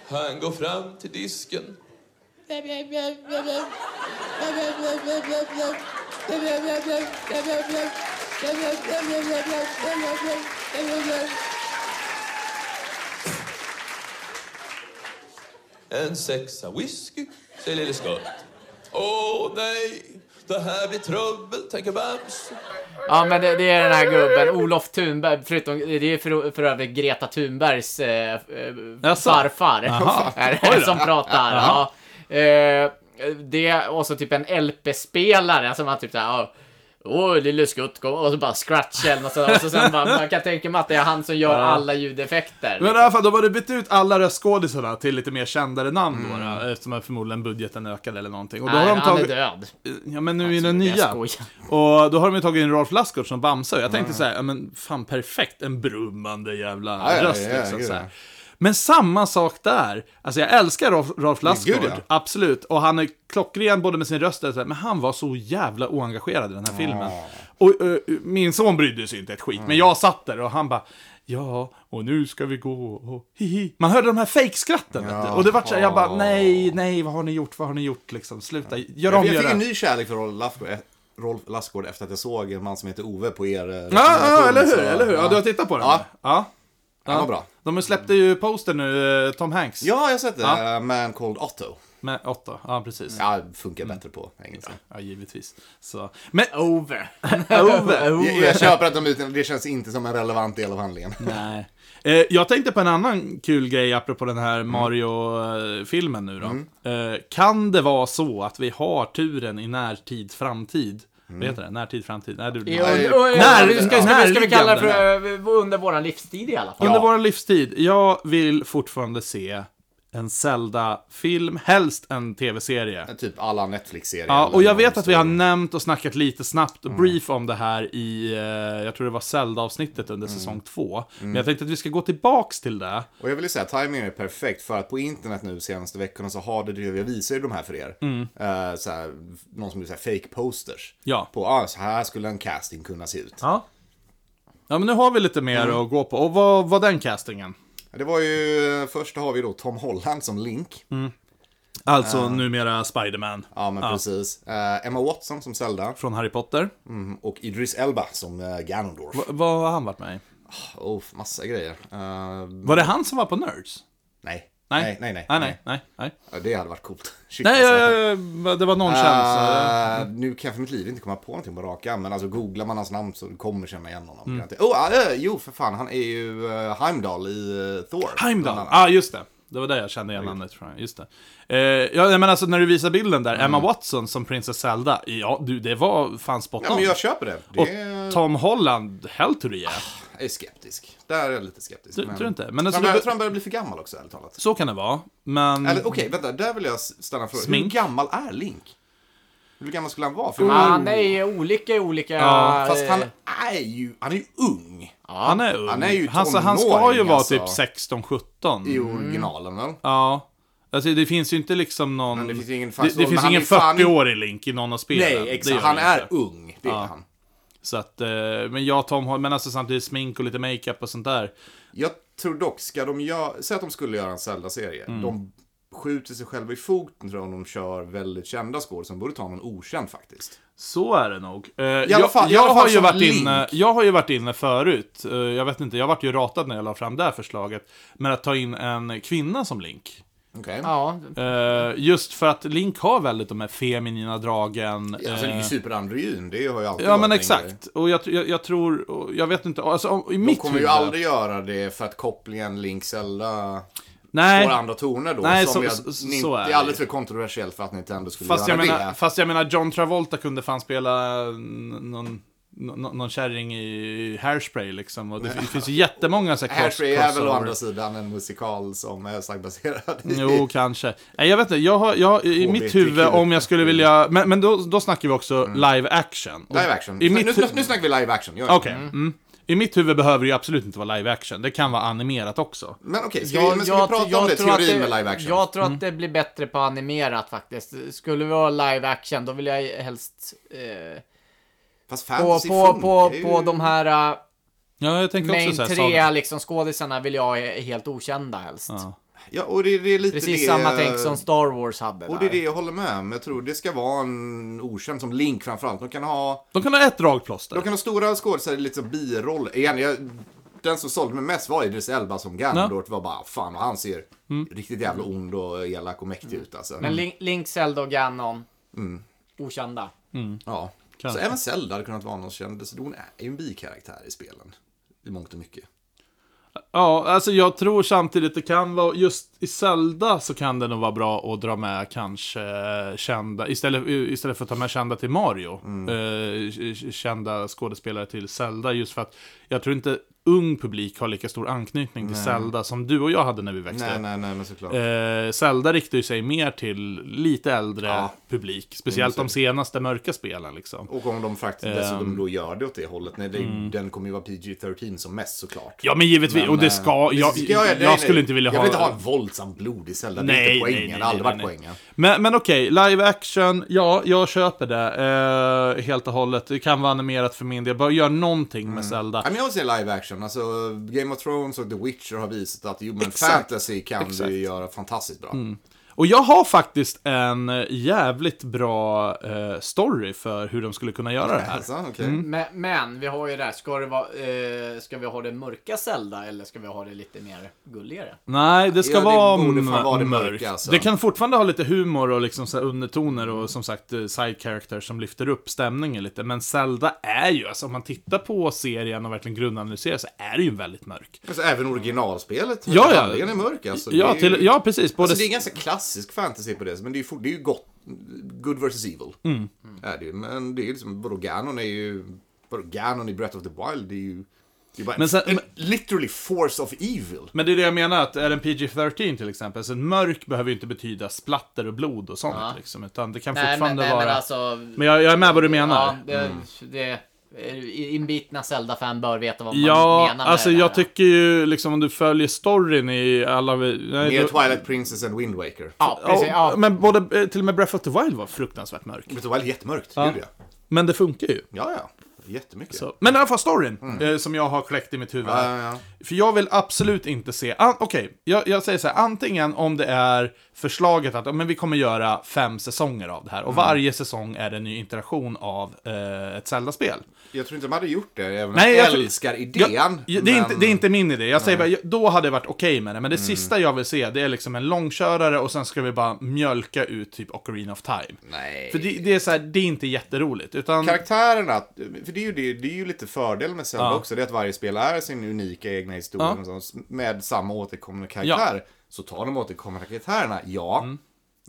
Han går fram till disken. En sexa whisky, säger lille Skutt. Åh nej, det här blir trubbel, tänker Bamse. Ja, men det, det är den här gubben, Olof Thunberg, förutom, det är för, för övrigt Greta Thunbergs eh, eh, Jaså? farfar Jaha. <laughs> är Oj det då. som pratar. Ja. Eh, det, och så typ en LP-spelare som var typ såhär, "Ja, åh, lille skutt, kom", och så bara scratch eller något sånt. Och så sen bara, man kan tänka mig att det är han som gör alla ljudeffekter. Men i alla fall, då var det bytt ut alla röstskådisarna till lite mer kändare namn då, då. Eftersom förmodligen budgeten ökade eller någonting. Och då Mm. Nej, har de han är tagit... död. Ja men nu är Alltså, den det är nya. skoj. Och då har de ju tagit in Rolf Lassgård som Bamse och jag tänkte så här, ja men fan perfekt, en brummande jävla Ja, ja, ja, röst ja, liksom gud, så här. ja. Men samma sak där. Alltså jag älskar Rolf, Rolf Lassgård, gud, ja. absolut. Och han är klockren både med sin röst och så här, men han var så jävla oengagerad i den här filmen. Och eh, min son brydde sig inte ett skit, Mm. men jag satt där och han bara Ja, och nu ska vi gå och hihi. Man hörde de här fejkskratten, vet du. Och det vart så här, jag bara nej, nej, vad har ni gjort, vad har ni gjort liksom, sluta, gör om, Jag gör fick en rätt. ny kärlek för Rolf Lassgård Rolf Lassgård efter att jag såg en man som heter Ove på er eh, Ja, rekommendation, ja, eller hur? så- Eller hur? Ja, du har tittat på den? Ja. ja. Den var bra. De släppte ju poster nu, eh, Tom Hanks. Ja, jag har sett det. Ja. Eh, Man called Otto. Med åtta, ja precis. Ja, funkar Mm. bättre på engelska. Ja, givetvis. Så. Men <laughs> Over. <laughs> Ove! Jag, jag köper att de ut, det känns inte som en relevant del av handlingen. Nej. Eh, jag tänkte på en annan kul grej apropå den här Mm. Mario-filmen nu då. Eh, kan det vara så att vi har turen i närtid framtid? Mm. Vad heter det? Närtid framtid? Nej, du, Nej. I under- och- När- ska- ska- ska- Ska vi kalla det närliggande. för eh, under våran livstid i alla fall? Under vår livstid, jag vill fortfarande se en Zelda-film, helst en tv-serie. Typ alla Netflix-serier. Ja, Mm. och jag Eller vet att vi har någon nämnt och snackat lite snabbt och brief om det här i, eh, jag tror det var Zelda-avsnittet under säsong två. Men jag tänkte att vi ska gå tillbaks till det. Och jag vill ju säga att timingen är perfekt för att på internet nu senaste veckorna så har det jag visar ju de här för er. Mm. Eh, så här, någon som gjorde så här fake posters. Ja. På, ah, så här skulle en casting kunna se ut. Ja. Mm. Ja, men nu har vi lite mer att gå på. Och vad var den castingen? Det var ju, först har vi då Tom Holland som Link. Mm. Alltså numera Spiderman Ja men precis. Eh, Emma Watson som Zelda. från Harry Potter. Mm, och Idris Elba som eh, Ganondorf. V- vad har han varit med i? Oh, massa grejer. Eh, Var det han som var på Nerds? nej. Mm. Nej, nej, nej. Nej, nej, nej. nej. Ja, det hade varit coolt. <laughs> Shit, nej alltså. jag, jag, det var någon chans. eh. Eh, nu kan jag för mitt liv inte komma på någonting på rak arm, men alltså googlar man hans namn så kommer man känna igen Mm. honom. Oh, eh, jo, för fan, han är ju eh, Heimdall i eh, Thor. Heimdall! bland Ja, annat. ah, just det. Det var där jag kände igen namnet från. Just det. Eh, ja, men alltså när du visar bilden där, Mm. Emma Watson som prinsess Zelda. Ja, du, det var fan spot on. Ja, men jag Ah, köper det. Och det är... Tom Holland, hell to the yeah. Jag är skeptisk. Där är jag lite skeptisk. Du- tror du inte? Men alltså, han börjar, du- jag tror han börjar bli för gammal också, ärligt talat. Så kan det vara, men... Eller okej, vänta, där vill jag stanna för. Hur Smink. Mm. gammal är Link? Hur gammal skulle han vara? För Han är ju olika i olika... Ja, Fast han eh, är ju, han är ju ung han är ung. han är ju så han ska ju tonåring, vara alltså. typ 16-17. i originalen väl? Mm. Ja. Alltså det finns ju inte liksom någon... Men det finns ingen fast det, det ålder. finns Han ingen är fan- 40-årig Link i någon av spelen. Nej, Det gör exakt. Han det är inte. ung, det är han. Så att, eh, men jag och Tom Holland, men alltså samtidigt smink och lite makeup och sånt där. Jag tror dock, ska de göra, säg att de skulle göra en Zelda-serie. Mm. De skjuter sig själva i foten tror jag om de kör väldigt kända skådespelare som borde ta någon okänd faktiskt. Så är det nog. Eh, alla jag, fall- i jag, alla fall har ju som varit Link. inne, jag har ju varit inne förut, eh, jag vet inte, jag vart ju ratad när jag la fram det här förslaget, men att ta in en kvinna som Link. Okej. Ja, Eh, just för att Link har väldigt de här feminina dragen. Alltså det är eh, ju superandryn, det har ju alltid ja varit men en grej. exakt, och jag, jag, jag tror, och jag vet inte, alltså om- i De mitt kommer ju aldrig göra det för att kopplingen Link-Zelda Nej, får andra toner då. Nej, som så- jag, så- så Nin- är det det är alldeles ju. för kontroversiellt för att Nintendo skulle fast jag, göra menar, det. fast jag menar John Travolta kunde fan spela eh, någon, någon, någon kärring i hairspray liksom, <laughs> och det, det finns ju jättemånga så här cross- Hairspray är väl å crossover. andra sidan en musikal som är sagbaserad i... Jo, kanske. Nej, jag vet inte. Jag har, jag har, I mitt huvud, om jag skulle vilja... Men, men då, då snackar vi också live action. Och Mm. Live action. I Nu, mitt, nu, hu- nu snackar vi live action. Gör det. Okej, mm. I mitt huvud behöver det ju absolut inte vara live action. Det kan vara animerat också. Men okej, ska, vi, men ska vi prata om det? tror att Teorin med live action? Jag tror Mm. att det blir bättre på animerat faktiskt. Skulle vi ha live action, då vill jag helst... Eh, Fast på, fantasy på, på, funkar ju. på de här eh, Ja, jag tänker main också så här, tre Saga- liksom, skådisarna vill jag ha helt okända helst. Ja. Ja, och det, det är lite Precis det, samma tänk som Star Wars hade Och det där. är det jag håller med om. Jag tror det ska vara en okänd som Link framförallt. De kan ha, De kan ha ett dragplåster. de kan ha stora skådespelare i lite som biroll. Igen, jag, den som sålde mig mest var Idris Elba som Ganondorf. var bara, fan vad han ser riktigt jävla ond och elak och mäktig ut alltså. Mm. Men Link, Link, Zelda och Ganon. Mm. Okända. ja. Kanske. Så även Zelda hade kunnat vara någon kändis. Hon är ju en bikaraktär i spelen. I mångt och mycket. Ja, alltså jag tror samtidigt det kan vara, just i Zelda så kan det nog vara bra att dra med kanske eh, kända, istället, istället för att ta med kända till Mario, Mm. eh, k- k- kända skådespelare till Zelda, just för att jag tror inte ung publik har lika stor anknytning till Zelda som du och jag hade när vi växte Nej, upp. nej, nej, men såklart. Eh, Zelda riktar ju sig mer till lite äldre Ja. publik, speciellt de senaste mörka spelen liksom. Och om de ehm. faktiskt dessutom då gör det åt det hållet. Nej, det, Mm. Den kommer ju vara PG-13 som mest såklart. Ja men givetvis, Men, och det eh, ska, det jag, ska jag, nej, nej. skulle inte vilja jag ha... vill inte ha en våldsam blodig Zelda. Det är inte poängen. Det har aldrig varit poängen. Men, men okej, live action, ja, jag köper det eh, helt och hållet. Det kan vara animerat för min del. Bara gör någonting Mm. med Zelda. Nej, men jag vill se live action. Alltså, Game of Thrones och The Witcher har visat att jo, men Exakt. fantasy kan Exakt. Mm. du göra fantastiskt bra. Och jag har faktiskt en eh, jävligt bra eh, story för hur de skulle kunna göra det här. Alltså, okej. Mm. Men, men vi har ju det här, ska, det vara, eh, ska vi ha det mörka Zelda eller ska vi ha det lite mer gulligare? Nej, det ska Ja, det vara, borde m- fan vara det mörkt. mörka, alltså. Det kan fortfarande ha lite humor och liksom så här undertoner och som sagt eh, side characters som lyfter upp stämningen lite. Men Zelda är ju, alltså om man tittar på serien och verkligen grundanalyserar så är det ju väldigt mörk. Alltså, även originalspelet. Ja, ja. Den är mörk alltså. Ja, det är, till, ja precis. Både Alltså, det är ganska klassisk fantasy på det, men det är ju, fort- det är ju gott. Good versus evil. Mm. Är det, ju. men det är ju liksom, vadå, Ganon är ju... Vadå, Ganon i Breath of the Wild, det är ju... Det är bara Men sen- en, en, literally force of evil. Men det är det jag menar, att är den PG-13 till exempel, så mörk behöver ju inte betyda splatter och blod och sånt liksom, utan det kan Nej, men, fortfarande nej, vara... men alltså... Men jag, jag är med vad du menar. Ja, det, det, eh, inbitna Zelda-fan bör veta vad man Ja, menar med alltså det där. jag tycker ju liksom om du följer storyn i alla... Mer Nej, då- Twilight Princess än Wind Waker. Ja, precis. Ja, Men både, eh, till och med Breath of the Wild var fruktansvärt mörk. Breath of the Wild är jättemörkt, det är ju det. Men det funkar ju. Ja, ja. Jättemycket. Så. Men i alla fall storyn, eh, som jag har kläckt i mitt huvud. Mm. Ja, ja, ja. För jag vill absolut inte se... An- Okej, jag, jag säger så här. Antingen om det är förslaget att ja, men vi kommer göra fem säsonger av det här. Och Mm. varje säsong är det en ny interaktion av eh, ett Zelda-spel. Jag tror inte de hade gjort det, även om Nej, jag jag- älskar idén. Jag, det, är inte, men- Mm. det är inte min idé. Jag säger bara, jag- då hade det varit okej med det. Men det sista jag vill se, det är liksom en långkörare och sen ska vi bara mjölka ut typ Ocarina of Time. Nej. För det, det är så här, det är inte jätteroligt. Utan... Karaktärerna, för det är ju, det, det är ju lite fördel med Zelda också, det är att varje spel är sin unika egna historia Ja. och sånt, med samma återkommande karaktär. Så ta de återkommande karaktärerna, ja.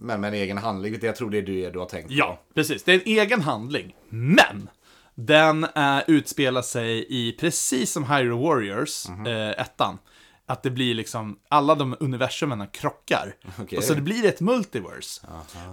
Men med en egen handling, vilket jag tror det är det du har tänkt Mm. Ja, precis. Det är en egen handling. Men! Den eh, utspelar sig i, precis som Hyrule Warriors, eh, ettan, att det blir liksom, alla de universumen krockar. Okej. Och så det blir ett multiverse.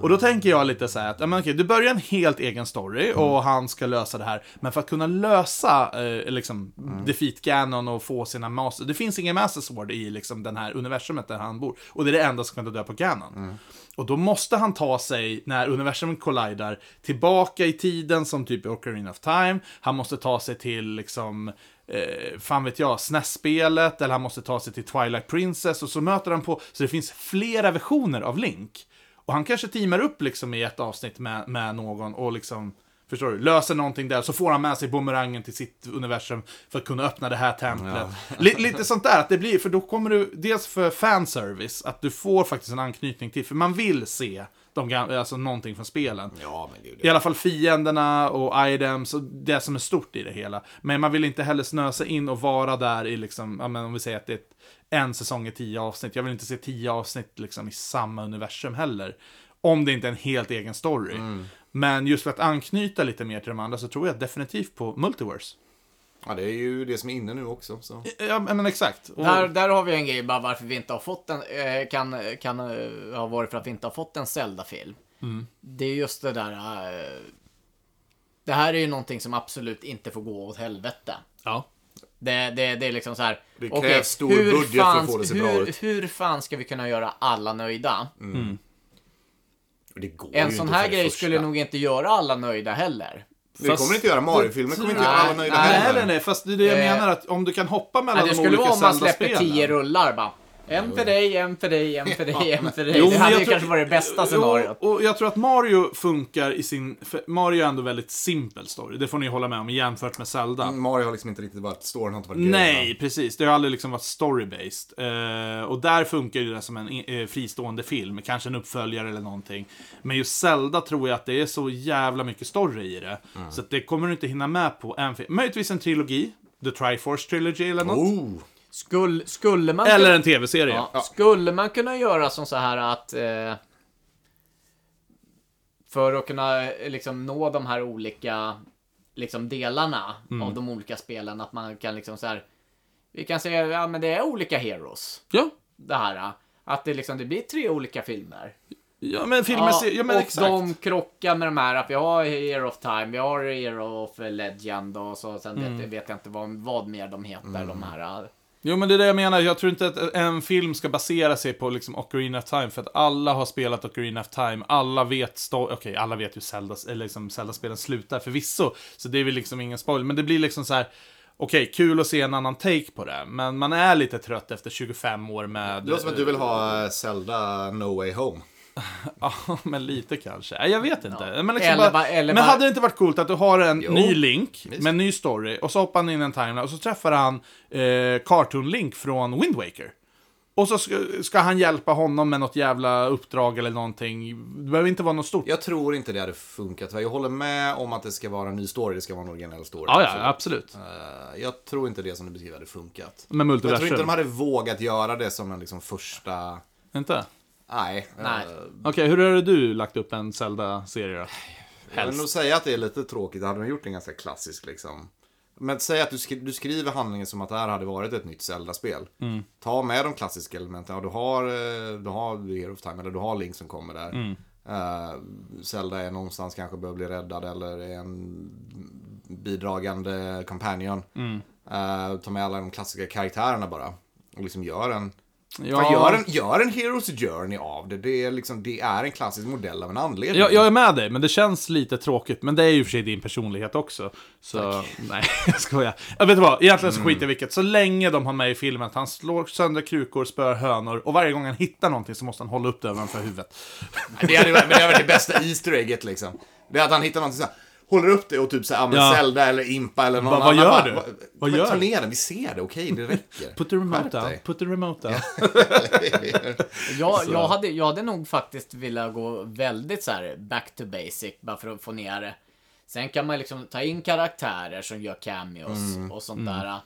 Och då tänker jag lite så här att, ja, men okej, du börjar en helt egen story och han ska lösa det här. Men för att kunna lösa, eh, liksom, defeat Ganon och få sina master, det finns ingen master sword i liksom den här universumet där han bor. Och det är det enda som kan döda på Ganon. Och då måste han ta sig, när universum kollider, tillbaka i tiden som typ i Ocarina of Time. Han måste ta sig till, liksom, eh, fan vet jag, SNES-spelet, eller han måste ta sig till Twilight Princess, och så möter han på, så det finns flera versioner av Link. Och han kanske teamar upp liksom i ett avsnitt med, med någon och liksom, förstår du, löser någonting där, så får han med sig bumerangen till sitt universum för att kunna öppna det här templet. Li- lite sånt där, att det blir, för då kommer du, dels för fanservice, att du får faktiskt en anknytning till, för man vill se de gamla, alltså någonting från spelen. Ja, men gud. I alla fall fienderna och items och det som är stort i det hela. Men man vill inte heller snösa in och vara där i liksom, ja, men om vi säger att det är ett, en säsong är tio avsnitt. Jag vill inte se tio avsnitt liksom i samma universum heller. Om det inte är en helt egen story. Men just för att anknyta lite mer till de andra så tror jag definitivt på Multiverse. Ja, det är ju det som är inne nu också. Så. Ja, men exakt. Och, Där, där har vi en grej bara varför vi inte har fått en, eh, kan, kan eh, ha varit för att vi inte har fått en Zelda-film. Det är just det där, eh, det här är ju någonting som absolut inte får gå åt helvete. ja. Det, det, det är liksom så här. Det okej, krävs stor hur budget för att fan- få det att se hur, bra ut. Hur fan ska vi kunna göra alla nöjda? Det går En ju sån inte här för det grej första. skulle nog inte göra alla nöjda heller. Vi kommer inte göra Mario-filmer, kommer inte göra Nej, alla nöjda nej, Nej, heller. nej, nej, fast det är det jag Eh, menar att om du kan hoppa mellan Nej, det de skulle olika vara om man släpper Zelda-spelen. tio rullar bara. En för dig, en för dig, en för dig, en för dig. Jo, det men hade jag ju tror- kanske varit det bästa scenariot. Jo, och jag tror att Mario funkar i sin... för Mario är ändå väldigt simpel story, det får ni hålla med om, jämfört med Zelda. Mm, Mario har liksom inte riktigt varit, storyn har inte varit grejen, Nej, va? precis. Det har aldrig liksom varit story-based. Eh, och där funkar ju det som en eh, fristående film, kanske en uppföljare eller någonting. Men just Zelda tror jag att det är så jävla mycket story i det. Mm. Så att det kommer du inte hinna med på en film. Möjligtvis en trilogi, The Triforce Trilogy eller något. Oh, Skulle, skulle man... Eller en tv-serie. Oh. Ja, Skulle man kunna göra som så här att... Eh, för att kunna eh, liksom nå de här olika liksom delarna Mm. av de olika spelen, att man kan liksom så här... Vi kan säga, ja men det är olika heroes, Ja. det här. eh, Att det liksom, det blir tre olika filmer. Ja, men filmer... Ja, ser- Ja, men och exakt. de krockar med de här, att vi har Hero of Time, vi har Hero of Legend och så, sen Mm. vet, vet jag inte vad, vad mer de heter, de här. eh. Jo, men det är det jag menar. Jag tror inte att en film ska basera sig på liksom Ocarina of Time, för att alla har spelat Ocarina of Time, alla vet sto- okej, alla vet hur Zelda, eller liksom Zelda-spelen slutar förvisso, så det är väl liksom ingen spoil, men det blir liksom så här. Okej, kul att se en annan take på det, men man är lite trött efter 25 år med... det låter som att du vill ha eh, Zelda No Way Home. <laughs> Ja, men lite kanske. Nej, Jag vet inte. Men, liksom Eller bara, bara- eller men bara- hade det inte varit coolt att du har en ny link med en ny story och så hoppar han in i en timeline och så träffar han eh, Cartoon Link från Wind Waker. Och så ska, ska han hjälpa honom med något jävla uppdrag eller någonting. Det behöver inte vara något stort. Jag tror inte det hade funkat. va? Jag håller med om att det ska vara en ny story, det ska vara en originell story. Ja, ja, absolut. Eh, Jag tror inte det som du beskriver hade funkat. Med Jag tror inte de multiversum. hade vågat göra det som en liksom första... Inte? Nej. Nej. eh, Okej, hur har du lagt upp en Zelda-serie då? Jag vill nog säga att det är lite tråkigt. Hade de gjort en ganska klassisk liksom. Men säg att du, skri- du skriver handlingen som att det här hade varit ett nytt Zelda-spel. Ta med de klassiska elementen. Ja, du har, eh, du har The Hero of Time, eller du har Link som kommer där. Eh, Zelda är någonstans kanske behöver bli räddad eller är en bidragande companion. Eh, ta med alla de klassiska karaktärerna bara. Och liksom gör en... Ja. Gör en, gör en Hero's Journey av det. Det är, liksom, det är en klassisk modell av en anledning. Jag, jag är med dig, men det känns lite tråkigt. Men det är ju i och för sig din personlighet också. Så, nej, <laughs> jag skojar. Jag vet du vad, egentligen så skiter jag i vilket. Så länge de har med i filmen att han slår sönder krukor, spöar hönor och varje gång han hittar någonting så måste han hålla upp det ovanför huvudet. Det hade, varit- men det hade varit det bästa Easter egget liksom. Det är att han hittar någonting såhär, håller upp det och typ såhär, ja men Ja. Zelda eller Impa eller någon Vad- vad annan. gör bara, du? "Va- Vad men gör Ta du?" ner den, vi ser det, okej det räcker. Put the remote Skärp down, dig. put the remote down. Jag, jag, hade, jag hade nog faktiskt velat gå väldigt så här back to basic bara för att få ner det. Sen kan man liksom ta in karaktärer som gör cameos Mm. och sånt där.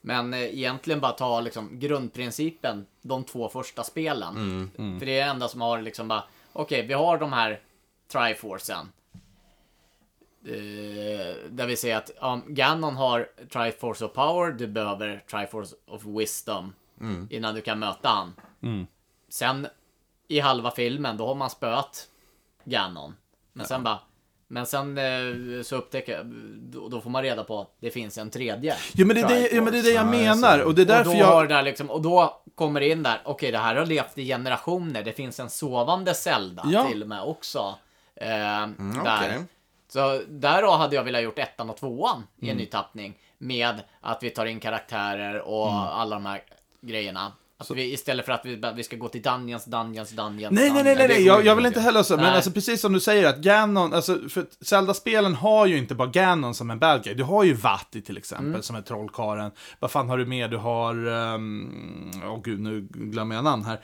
Men eh, egentligen bara ta liksom grundprincipen, de två första spelen. Mm. För det är det enda som har liksom bara, okej vi har de här Triforcen. Eh, där vi ser att um, Ganon har Triforce of Power, du behöver Triforce of Wisdom Mm. innan du kan möta han. Sen i halva filmen, då har man spöat Ganon. Men sen bara... Men sen eh, så upptäcker jag, då, då får man reda på att det finns en tredje. Jo men det är det, Triforce. jo, men det, är det jag menar. Och det är därför och då, har jag... det där liksom, och då kommer det in där, okej det här har levt i generationer, det finns en sovande Zelda Ja. Mm, till och med också. Eh, där. okej. Så därav hade jag velat gjort ettan och tvåan i Mm. en ny tappning. Med att vi tar in karaktärer och Mm. alla de här grejerna. Att vi, istället för att vi, vi ska gå till Dungeons, Dungeons, Dungeons. Nej, nej, nej, nej, Dungeons. nej. Jag, jag vill inte heller så, men Nej. alltså, precis som du säger att Ganon, alltså, för att Zelda-spelen har ju inte bara Ganon som en bad guy. Du har ju Vatti till exempel, Mm. som är trollkaren. Vad fan har du mer? Du har, åh oh, gud, nu glömmer jag namn här.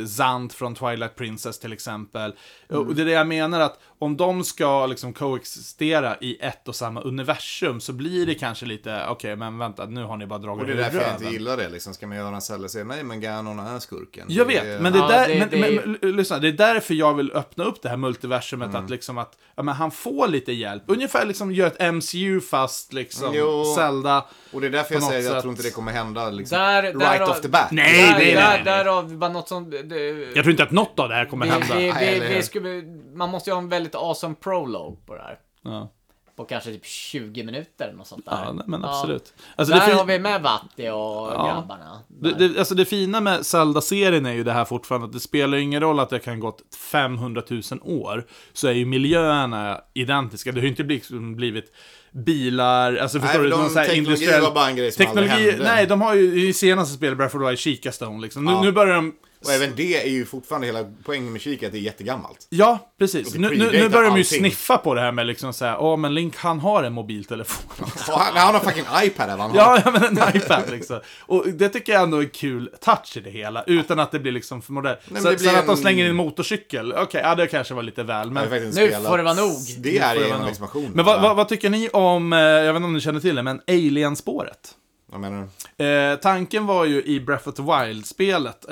Eh, Zant från Twilight Princess till exempel. Mm. Och det är det jag menar att om de ska liksom koexistera i ett och samma universum så blir det kanske lite, okej, men vänta, nu har ni bara dragit Och det är ur därför jag inte röven. gillar det liksom. Ska man göra en Zelda säger nej men Ganon är skurken. Jag Det vet, är- men det, är Ja, där, det- men, det- men, l- lyssna, det är därför jag vill öppna upp det här multiversumet. Mm. Att, liksom att ja, men han får lite hjälp. Ungefär liksom gör ett MCU fast liksom Jo. Zelda. Och det är därför jag på något säger att jag sätt- tror inte det kommer hända liksom, Där- right där- off the bat. Nej, Där, nej, nej. där, därav bara något som... Det, Jag tror inte att något av det här kommer vi, hända. vi, Nej, vi, eller vi hur? skulle, man måste ju ha en väldigt awesome prolog på det här. Ja. På kanske typ 20 minuter eller något sånt där. Ja, nej, men Ja. absolut. Alltså, det, Där fin- har vi med Vatti och grabbarna. det, det, alltså, det fina med Zelda-serien är ju det här fortfarande att det spelar ju ingen roll att det kan gått 500 000 år. Så är ju miljöerna identiska. Det har ju inte blivit, blivit bilar, alltså förstår du? de- någon så här teknologi industriell- var bara en grej som aldrig hände. Nej, de har ju i senaste spelet Breath of the Wild Kikastone liksom. Nu, nu börjar de... Och även det är ju fortfarande hela poängen med Chica, att det är jättegammalt. Ja, precis. Nu, nu, nu predatar börjar de ju allting. sniffa på det här med liksom såhär, ja men Link han har en mobiltelefon. <laughs> Och Han, han har fucking iPad även. Ja, ja, men en iPad liksom. Och det tycker jag ändå är kul touch i det hela, utan att det blir liksom för modell. men Så, det blir sen att de en- slänger in en motorcykel, okej, ja det kanske var lite väl, men... Nu får det vara nog. Det är får det ju vara en nog. expansion. Men vad, va? vad, vad tycker ni om, eh, jag vet inte om ni känner till det, men Alien-spåret? Jag menar, Eh, tanken var ju i Breath of the Wild-spelet,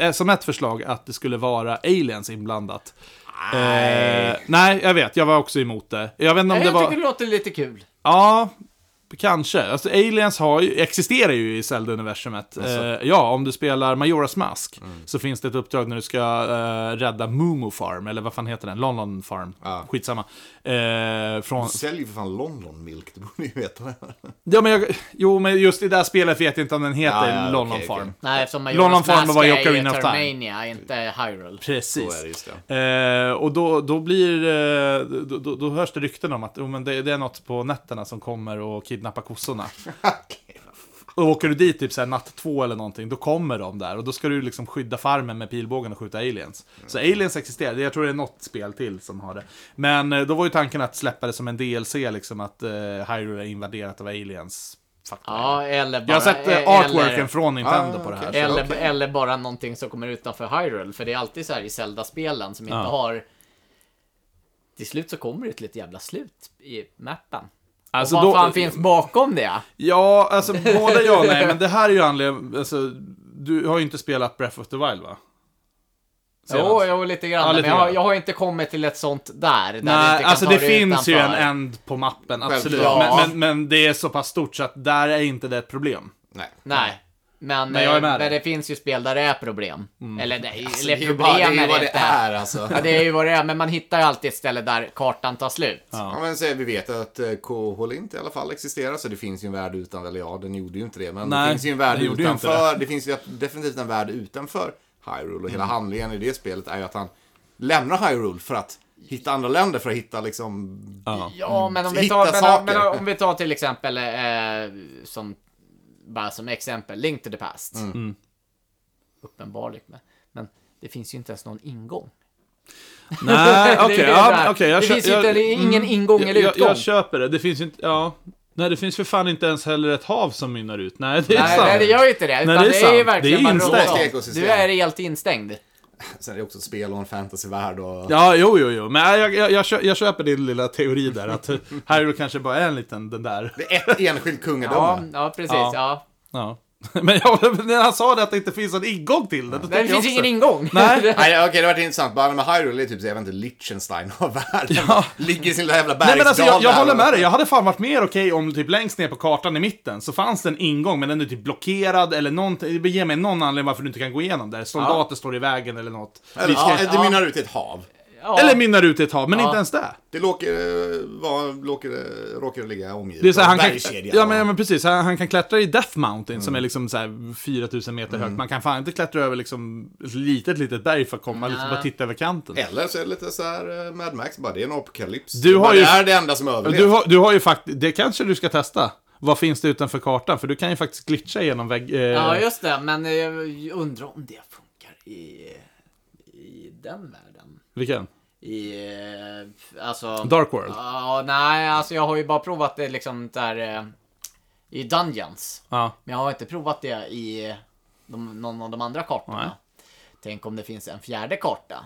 eh, som ett förslag, att det skulle vara aliens inblandat. Nej. Eh, nej, jag vet. Jag var också emot det. Jag vet inte om Nej, det jag var... tycker det låter lite kul. Ja, kanske. Alltså, aliens har ju, existerar ju i Zelda-universumet. Alltså. Eh, ja, om du spelar Majoras Mask Mm. så finns det ett uppdrag när du ska eh, rädda Moomoo Farm, eller vad fan heter den? London Farm. Skitsamma. Eh, från, du säljer ju för fan London Milk, det borde ju veta <laughs> det. ja, men jag, jo, men just i det där spelet vet jag inte om den heter Ja, ja, London okej, Farm. okej. Nej, eftersom London Majoras Farmer Mask var är ju ju Ocarina of Time. Termania, inte Hyrule. Precis. Så är det, just Eh, och då, då blir eh, då, då, då hörs det rykten om att oh, men det, det är något på nätterna som kommer och kidnappar kossorna. Och åker du dit typ såhär natt två eller någonting, då kommer de där. Och då ska du liksom skydda farmen med pilbågen och skjuta aliens. Så aliens existerar, jag tror det är något spel till som har det. Men eh, då var ju tanken att släppa det som en DLC, liksom att eh, Hyrule är invaderat av aliens. Fuck Ja, eller bara... jag har sett eh, eller- artworken från Nintendo Ah, på det här. okej. så- Eller, Okej. eller bara någonting som kommer utanför Hyrule. För det är alltid så här i Zelda-spelen som inte Ja. har... Till slut så kommer det till ett jävla slut i mappen. Alltså, och vad då- fan finns bakom det? Ja, <laughs> alltså båda ja och nej, men det här är ju anledningen... Alltså, du har ju inte spelat Breath of the Wild va? Senast. Jo, jo, lite grann. Ja, lite men jag, grann. jag har inte kommit till ett sånt där. där vi inte Nej, kan alltså ta det finns ju en utanför. end på mappen, absolut. Självklart. Men, Ja. men, men det är så pass stort så att där är inte det ett problem. Nej. Nej. Men, Men jag är eh, med men dig. Mm. det finns ju spel där det är problem. Eller, nej, Alltså, eller det är ju problem bara- det är ju är vad det det inte. är alltså. <laughs> Ja, det är ju vad det är, men man hittar ju alltid ett ställe där kartan tar slut. Ja, men så vi vet att eh, Koholint i alla fall existerar, så det finns ju en värld utan, eller ja, den gjorde ju inte det, men Nej, det finns ju en värld den gjorde ju inte utanför. Det. finns ju definitivt en värld utanför Hyrule och hela Mm. handlingen i det spelet är ju att han lämnar Hyrule för att hitta andra länder, för att hitta liksom... Ja, men om vi Hitta tar, men, saker. men om vi tar till exempel, eh, som, bara som exempel, Link to the Past. Mm. Mm. Uppenbarligen, men, men det finns ju inte ens någon ingång. Nej, <laughs> Det är det ja, där. men okej, jag Det kö- finns ju jag- inte- det är ingen mm, ingång eller jag, utgång. Jag, jag köper det, det finns ju inte, ja. Nej, det finns för fan inte ens heller ett hav som mynnar ut. Nej, det är Nej, sant. nej, det gör ju inte det. Utan det är det, är, ju sant. verkligen Det är bara instängt. rått. Ekosystem. Du är helt instängd. Sen är det också ett spel och en fantasyvärld och... Ja, jo, jo, jo. Men nej, jag, jag, jag, kö- jag köper din lilla teori där att Hyrule kanske bara är en liten, den där. Det är ett enskilt Ja, kungadöme. ja precis. Ja. Ja. Ja. <laughs> Men jag, när han sa det att det inte finns någon ingång till det, då Men tänker jag det finns också. ingen ingång. Nej. Nej, okej, det var intressant. Bara med Hyrule är typ så, jag vet inte, Liechtenstein av världen. Ja. Ligger i sin lilla jävla Nej bergsdal men alltså jag, jag där håller och- med dig, jag hade fan varit mer okej om typ längst ner på kartan i mitten så fanns det en ingång men den är typ blockerad eller någonting, det ger mig någon anledning varför du inte kan gå igenom där. Soldater står i vägen eller något. Eller, Vi ska- ja, det mynnar ut i ett hav. Ja. Eller mynnar ut i ett hav, men inte ens det. Det låker, eh, var, låker, eh, råkar det ligga omgivet Det är så här, av han kan, bergskedja. ja, men, ja men precis, han, han kan klättra i Death Mountain som är liksom så här 4000 meter högt. Man kan fan inte klättra över liksom ett litet, litet berg för att komma, liksom bara titta över kanten. Eller så är det lite så här eh, Mad Max bara, det är en apokalyps. Du Det har bara- ju- Det är det enda som överlevt. Du har, du har ju faktiskt, det kanske du ska testa. Vad finns det utanför kartan? För du kan ju faktiskt glitcha genom vägg... Eh, Ja, just det. Men eh, jag undrar om det funkar i, i den världen. Vilken? I, eh, alltså... Dark World? Ja, nej, alltså jag har ju bara provat det liksom där eh, i Dungeons. Ja. Men jag har inte provat det i de, någon av de andra kartorna. Nej. Tänk om det finns en fjärde karta.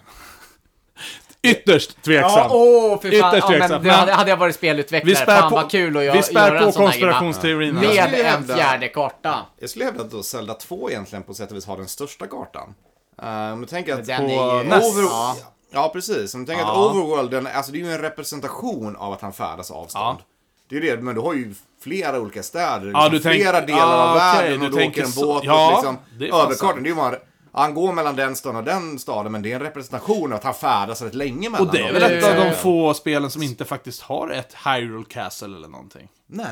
Ytterst tveksam. Ja, åh, för fan. Ytterst Ja, men tveksam. det Men- hade, hade jag varit vi spelutvecklare, spär fan på, vad kul att gö- vi spär göra en på sån här grej. konspirationsteorin. alltså. va? här. Jag Med skulle en hävda- fjärde karta. Jag skulle hävda att Zelda 2 egentligen på sätt och vis har den största kartan. Eh, Om du tänker att... Den På är ju... näst. Over... Ja. Ja. precis. Om du tänker att Overworlden, alltså det är ju en representation av att han färdas avstånd. Det är ju det, men du har ju flera olika städer, liksom, du tänker- flera delar ah, av okej, världen du och du tänker åker en så. båt Ja, och liksom det är fan över sant. kartan. Det är ju bara, han går mellan den staden och den staden, men det är en representation av att han färdas rätt länge mellan Och det är dem. väl ett av Eh. de få spelen som inte faktiskt har ett Hyrule Castle eller någonting. Nej,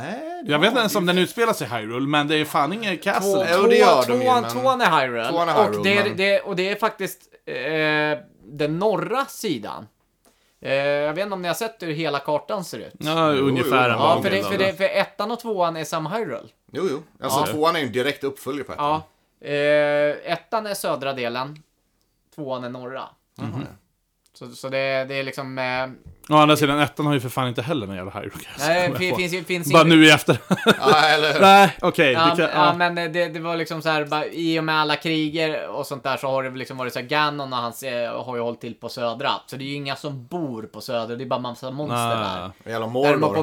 det Jag vet var- inte ens om den utspelar sig i Hyrule, men det är fan ingen Två, castle. Jo, det gör de ju, tvåan, men- tvåan är Hyrule. Tvåan är Hyrule, och, det är, men- det, och det är faktiskt eh, den norra sidan. Eh, jag vet inte om ni har sett hur hela kartan ser ut. Ja, ungefär jo. en Ja, lång för, det, del för, av det, för ettan och tvåan är samma Hyrule. Jo, jo. Alltså tvåan är ju en direkt uppföljare på ettan. Ja. Mm. Eh, ettan är södra delen, tvåan är norra. Mm. Så, så det, det är liksom... Eh, Å andra sidan, ettan har ju för fan inte heller någon jävla Hyrule Castle. nej, kommer jag det på. finns, ju- finns Bara ingen- nu i efter. <laughs> Ja, eller Nej, okej. Ja, det kan- ja, ja. men det, det var liksom så här, bara, i och med alla kriger och sånt där så har det väl liksom varit så här, Ganon och hans eh, har ju hållit till på södra. Så det är ju inga som bor på södra, det är bara massa monster Ah. där. Jävla Däremot Mordor. på,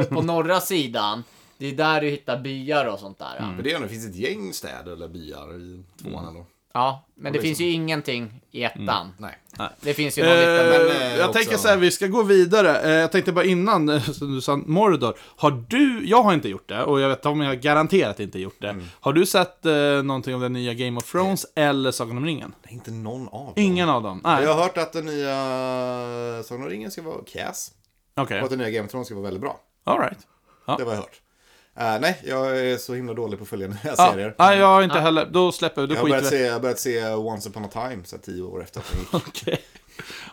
<laughs> eh, på norra sidan, det är där du hittar byar och sånt där. Ja, Mm. Men det är ju ändå, det finns ett gäng städer eller byar i tvåan ändå. ja men det liksom- finns ju ingenting i ettan. Nej. Det finns ju någon liten... Mm. Eh, men, eh, jag också- tänker så här, vi ska gå vidare. Eh, jag tänkte bara innan, eh, som du sa, Mordor. Har du, jag har inte gjort det, och jag vet om jag har garanterat inte gjort Mm. det. Har du sett eh, någonting om den nya Game of Thrones eller Sagan om ringen? Det är inte någon av dem. Ingen av dem? Nej. Jag har hört att den nya Sagan om ringen ska vara kass. Okej. Och att den nya Game of Thrones ska vara väldigt bra. All right. Det var jag hört. Eh, nej, jag är så himla dålig på att följa nya Ja, serier. nej, jag har inte heller, då släpper vi, då Jag har skiter börjat vi se, jag har börjat se Once upon a time, så här tio år efter att den <laughs> gick. Okej.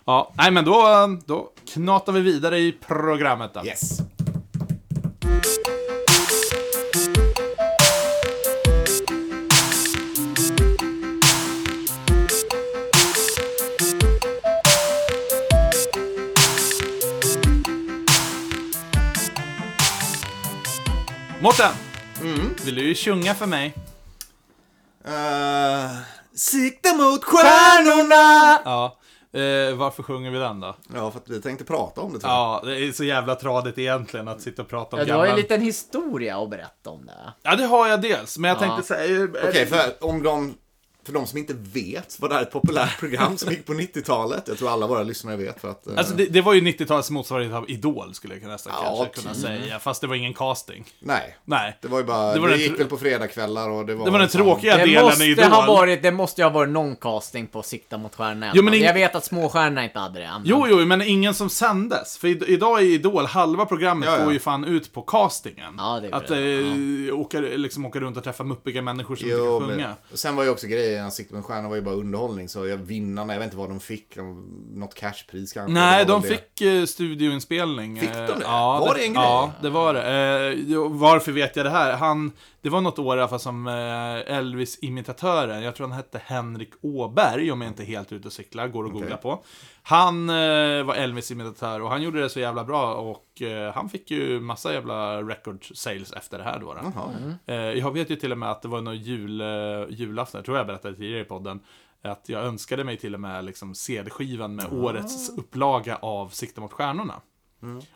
Ja, nej men då, eh, då knatar vi vidare i programmet då. Yes. Mårten! Mm. Vill du sjunga för mig? Uh, sikta mot stjärnorna! Ja. Eh, varför sjunger vi den då? Ja, för att vi tänkte prata om det tror jag. Ja, det är så jävla tradigt egentligen att sitta och prata om Ja, du har ju gamla... en liten historia att berätta om det. Ja, det har jag dels, men jag Ja. tänkte säga... eh, Okej, för om de... För de som inte vet var det här ett populärt program som gick på 90-talet. Jag tror alla våra lyssnare vet för att... eh, Alltså det, det var ju 90-talets motsvarighet av Idol skulle jag nästan Ja, kanske kunna typ. säga, fast det var ingen casting. Nej. Nej. Det var ju bara... Det Det, var den gick tr- väl på fredagkvällar och det var... Det var den liksom- tråkiga Det delen i måste, Idol. ha varit, det måste ju ha varit någon casting på Sikta mot stjärnorna. Jo, men ing- Jag vet att småstjärnorna inte hade det. men- Jo, jo, men ingen som sändes. För id- idag är Idol, halva programmet Ja, ja. går ju fan ut på castingen. Ja, det är att bra. eh, åka, liksom, åka runt och träffa muppiga människor som Jo, inte kan men, sjunga. och sen var ju också grejen, Sikte mot stjärnorna var ju bara underhållning. Så jag, vinnarna, jag vet inte vad de fick. De, något cashpris kanske. Nej, Det var de väl det. fick eh, studioinspelning. Fick de det? Eh, Ja, Var det en grej? Ja, det var det. Eh, jo, varför vet jag det här? Han, det var något år i alla fall som eh, Elvis-imitatören, jag tror han hette Henrik Åberg, om jag inte är helt ute och cyklar, går att googla på. Han eh, var Elvis-imitatör och han gjorde det så jävla bra och eh, han fick ju massa jävla record sales efter det här då. då. Eh, Jaha. Jag vet ju till och med att det var någon jul, eh, julafton, jag tror jag berättade tidigare i podden, att jag önskade mig till och med liksom CD-skivan med årets upplaga av Sikta mot stjärnorna.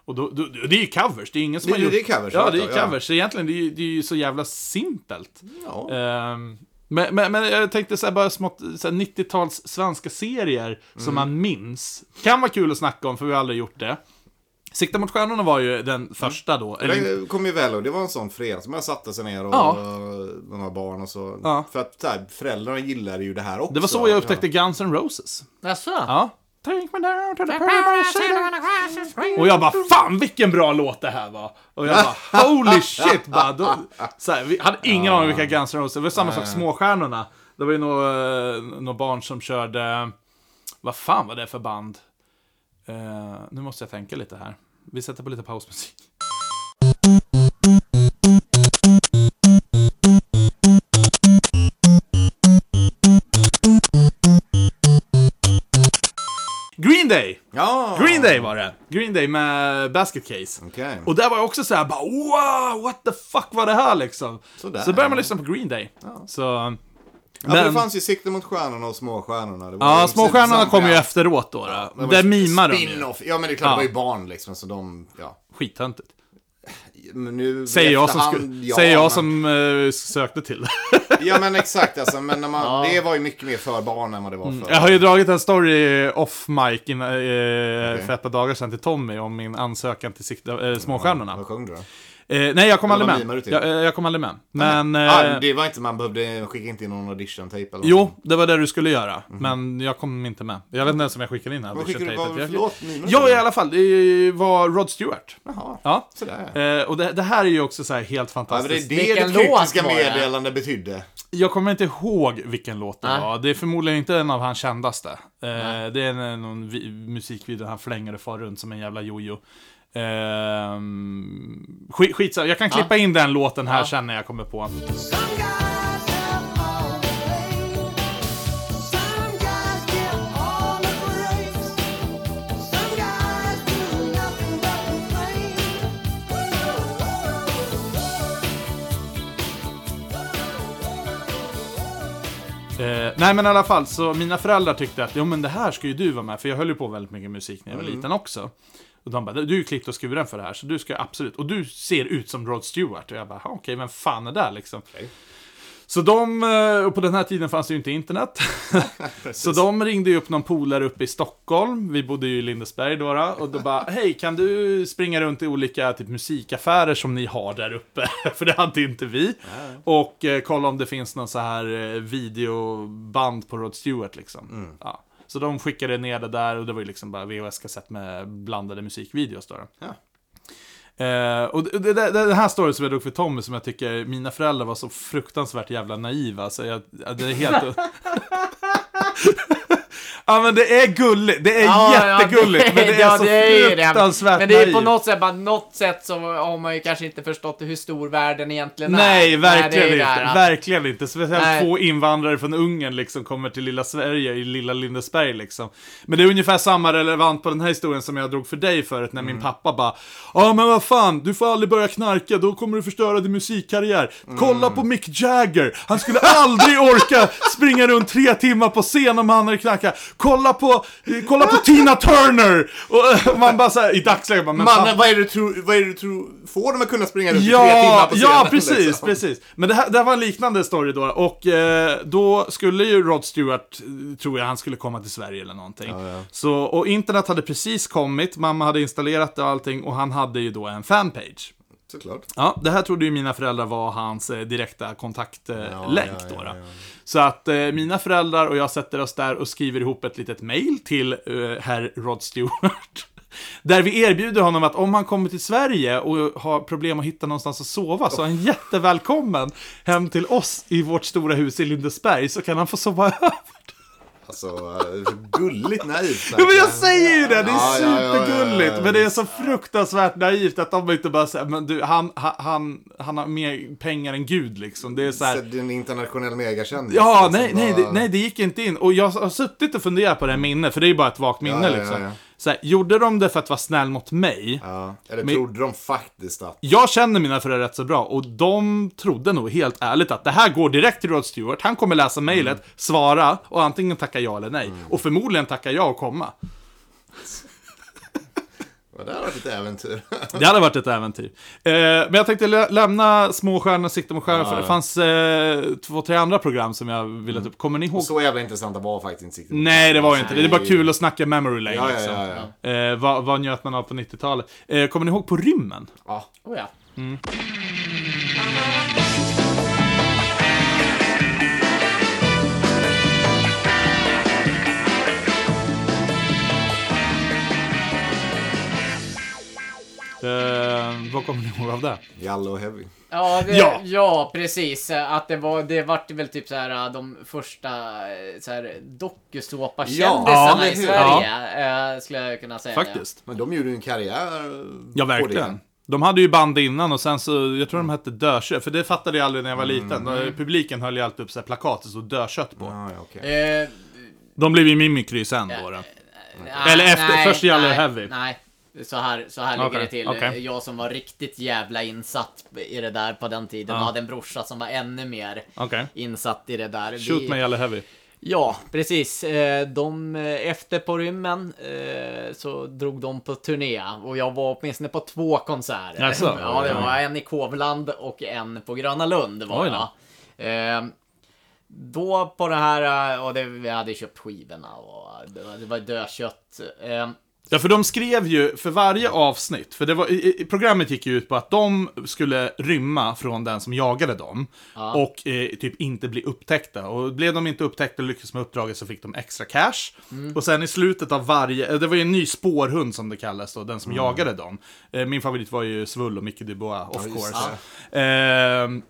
Och då, då, det är ju covers, det är ingen som Det- har gjort... det är covers, ja, jag det är vet jag, ja. covers. Så egentligen, det är, ju- det är ju så jävla simpelt. Ja. Ehm, men, men, men jag tänkte så här bara smått, så här 90-tals svenska serier Mm. som man minns. Kan vara kul att snacka om, för vi har aldrig gjort det. Sikta mot stjärnorna var ju den första då. Eller, Mm. Det kom ju väl och det var en sån fredag som jag satte sig ner och Ja. några barn och så. Ja. För att så här, föräldrarna gillade ju det här också. det var så jag upptäckte Guns N' Roses. Jaså? Ja. Take me down to the paradise city. Och jag bara, fan vilken bra låt det här var! Och jag bara, holy shit! Bara, då, så här, vi hade ingen aning vilka Guns N' Roses, det var samma sak Småstjärnorna. Det var ju några eh, några barn som körde, vad fan var det för band? Eh, nu måste jag tänka lite här. Vi sätter på lite pausmusik. Green Day! Ja! Green Day var det! Green Day med Basket Case. Okej. Och där var jag också så här bara wow, what the fuck var det här liksom? Sådär. Så började man lyssna på Green Day. Så, Ja, för det men- fanns ju Sikte mot stjärnorna och Småstjärnorna. Det var ja, ju småstjärnorna intressant kom ju program. efteråt då. Det då. var Där ju mimar de ju. spin-off. Ja, men det är klart, Ja. det var ju barn liksom, så de, ja. Skittöntigt. Men nu, Säger i jag som, efterhand, sku- ja, säger jag men- som eh, sökte till det. <laughs> Ja, men exakt alltså. Men när <laughs> man, det var ju mycket mer för barn än vad det var för... Jag har ju dragit en story off mic in, eh, för ett par dagar sedan till Tommy om min ansökan till sikta, eh, Småstjärnorna. Vad sjöng du då? Eh, nej, jag kom Eller vad aldrig mimar du med. till? Jag, eh, jag kom aldrig med. Men... eh, ah, det var inte, man behövde skicka inte in någon audition-tape eller Jo, någonting. det var det du skulle göra, men jag kom inte med. Jag vet inte ens om jag skickade in Mhm. Vad skickade du? audition-tejpet. Vad- Jag- Förlåt, mimar Ja, du? i alla fall. Det var Rod Stewart. Jaha. Ja. Sådär. Eh, och det, det här är ju också så här helt Ja, men det är fantastiskt. det Vilken det kryptiska låt var det? meddelande betydde. Jag kommer inte ihåg vilken låt det Nej. var. Det är förmodligen inte en av hans kändaste. Eh, det är en, någon vi, musikvideo där han flänger och far runt som en jävla jojo. Eh, skit, skitsamma. jag kan klippa in den låten här sen när jag kommer på. Some guys have all the brains. Some guys get all the breaks. Some guys do nothing but complain. Eh, nej men i alla fall, så mina föräldrar tyckte att jo men det här ska ju du vara med, för jag höll ju på väldigt mycket musik när jag var liten också. Och de bara, du är ju klippt och skuren för det här, så du ska absolut, och du ser ut som Rod Stewart. Och jag bara, "Ha, okej, vem fan är det liksom? Så de, eh, och på den här tiden fanns det ju inte internet. <laughs> så de ringde ju upp någon polare uppe i Stockholm, vi bodde ju i Lindesberg då, då och då bara, hej kan du springa runt i olika typ, musikaffärer som ni har där uppe? <laughs> För det hade inte vi. Och eh, kolla om det finns någon så här eh, videoband på Rod Stewart liksom. Ja. Så de skickade ner det där och det var ju liksom bara VHS-kassett med blandade musikvideos då. då. Eh, och det, det, det, den här storyn som jag drog för Tommy som jag tycker mina föräldrar var så <laughs> fruktansvärt jävla naiva. Så jag, ja, det är helt... Ja men det är gulligt, det är jättegulligt, men det är så ju fruktansvärt Men det är på naivt. något sätt, bara något sätt så har man ju kanske inte förstått hur stor världen egentligen är. Nej, verkligen Nej, det är det inte. här, att- verkligen inte. Speciellt Nej. två invandrare från Ungern liksom kommer till lilla Sverige i lilla Lindesberg liksom. Men det är ungefär samma relevant på den här historien som jag drog för dig förut när Mm. min pappa bara Ja men vad fan, du får aldrig börja knarka, då kommer du förstöra din musikkarriär. Mm. Kolla på Mick Jagger, han skulle aldrig <laughs> orka springa runt tre timmar på scen om han hade knarkat. Kolla på, kolla på Tina Turner! Och, och man bara såhär i dagsläget bara, men pappa- Mannen, vad är det du tror, vad är det du tror, får de att kunna springa runt i tre timmar Ja, på scenen? ja precis, liksom? precis. Men det här, det här var en liknande story då. Och eh, då skulle ju Rod Stewart, eh, tror jag, han skulle komma till Sverige eller någonting. Så, och internet hade precis kommit, mamma hade installerat det och allting och han hade ju då en fanpage. Såklart. Ja, det här trodde ju mina föräldrar var hans eh, direkta kontaktlänk. Eh, länk ja, då, då. ja, Så att eh, mina föräldrar och jag sätter oss där och skriver ihop ett litet mail till eh, herr Rod Stewart. <laughs> Där vi erbjuder honom att om han kommer till Sverige och har problem att hitta någonstans att sova så är han Oh. jättevälkommen hem till oss i vårt stora hus i Lindesberg så kan han få sova över. Alltså, eh, <laughs> gulligt naivt. Ja, men jag säger ju det! Det är Ja, ja, ja, ja, ja, supergulligt! ja, Men det är så fruktansvärt naivt att de inte bara säger men du, han, han- han, han har mer pengar än Gud liksom. Det är så här, Så det är en internationell megakändis. Ja, liksom, nej, nej, bara- det, nej, det gick inte in. Och jag har suttit och funderat på det här minnet, för det är ju bara ett vagt minne Ja, ja, ja, liksom. ja. Så här, gjorde de det för att vara snäll mot mig? Ja, eller Men- trodde de faktiskt att... Jag känner mina föräldrar rätt så bra och de trodde nog helt ärligt att det här går direkt till Rod Stewart. Han kommer läsa mejlet, Mm. svara och antingen tacka ja eller nej. Och förmodligen tacka ja och komma. Ja, Det här har varit ett äventyr. <laughs> Det hade varit ett äventyr. Eh, men jag tänkte lä lämna småstjärnor och sikta mot stjärnor, för det fanns eh, två, tre andra program som jag ville ta upp. Kommer ni ihåg? Så jävla intressanta var faktiskt inte siktet. Nej, det var ju inte det. Det är bara kul att snacka memory lane. Ja, ja, liksom. ja, ja. Eh, vad, vad njöt man av på 90-talet? Eh, kommer ni ihåg på rymmen? Oh, ja. Eh, vad kommer ni ihåg av det? Jallo och Heavy. Ja, det, Ja. ja. precis. Att det var, det vart väl typ så här de första eh, så här Ja, dokusåpakändisarna eller i hur? Sverige. eh, Skulle jag kunna säga. Faktiskt. Men de gjorde ju en karriär eh, Ja, På det. verkligen. De hade ju band innan och sen så, jag tror de hette Dökött, för det fattade jag aldrig när jag var Mm. liten. Eh, Publiken höll ju alltid upp så här plakat och så Dökött på. Ja, ja, okej. det. Eh, De blev ju Mimikry sen då. då. nej, Eller efter- Ah, nej, först gäller nej, Heavy. Nej. Så här, så här Okej, ligger det till. okej. Jag som var riktigt jävla insatt i det där på den tiden Ja. hade en brorsa som var ännu mer Okej. insatt i det där. Shoot Vi- me Jalle Heavy. Ja, precis. Eh, De, eh, efter på rymmen eh, så drog de på turné och jag var åtminstone på två konserter. Jaså? Ja, det var en i Kovland och en på Gröna Lund var Oj då. jag. Eh, Då på det här, eh, och det, vi hade köpt skivorna och det var, det var dödkött. Eh, Ja, för de skrev ju för varje avsnitt, för det var, i, i, programmet gick ju ut på att de skulle rymma från den som jagade dem och eh, typ inte bli upptäckta. Och blev de inte upptäckta och lyckades med uppdraget så fick de extra cash. Och sen i slutet av varje, eh, det var ju en ny spårhund som det kallas då, den som jagade dem. Eh, min favorit var ju Svull och Micke Dubois, of just course. Ehm,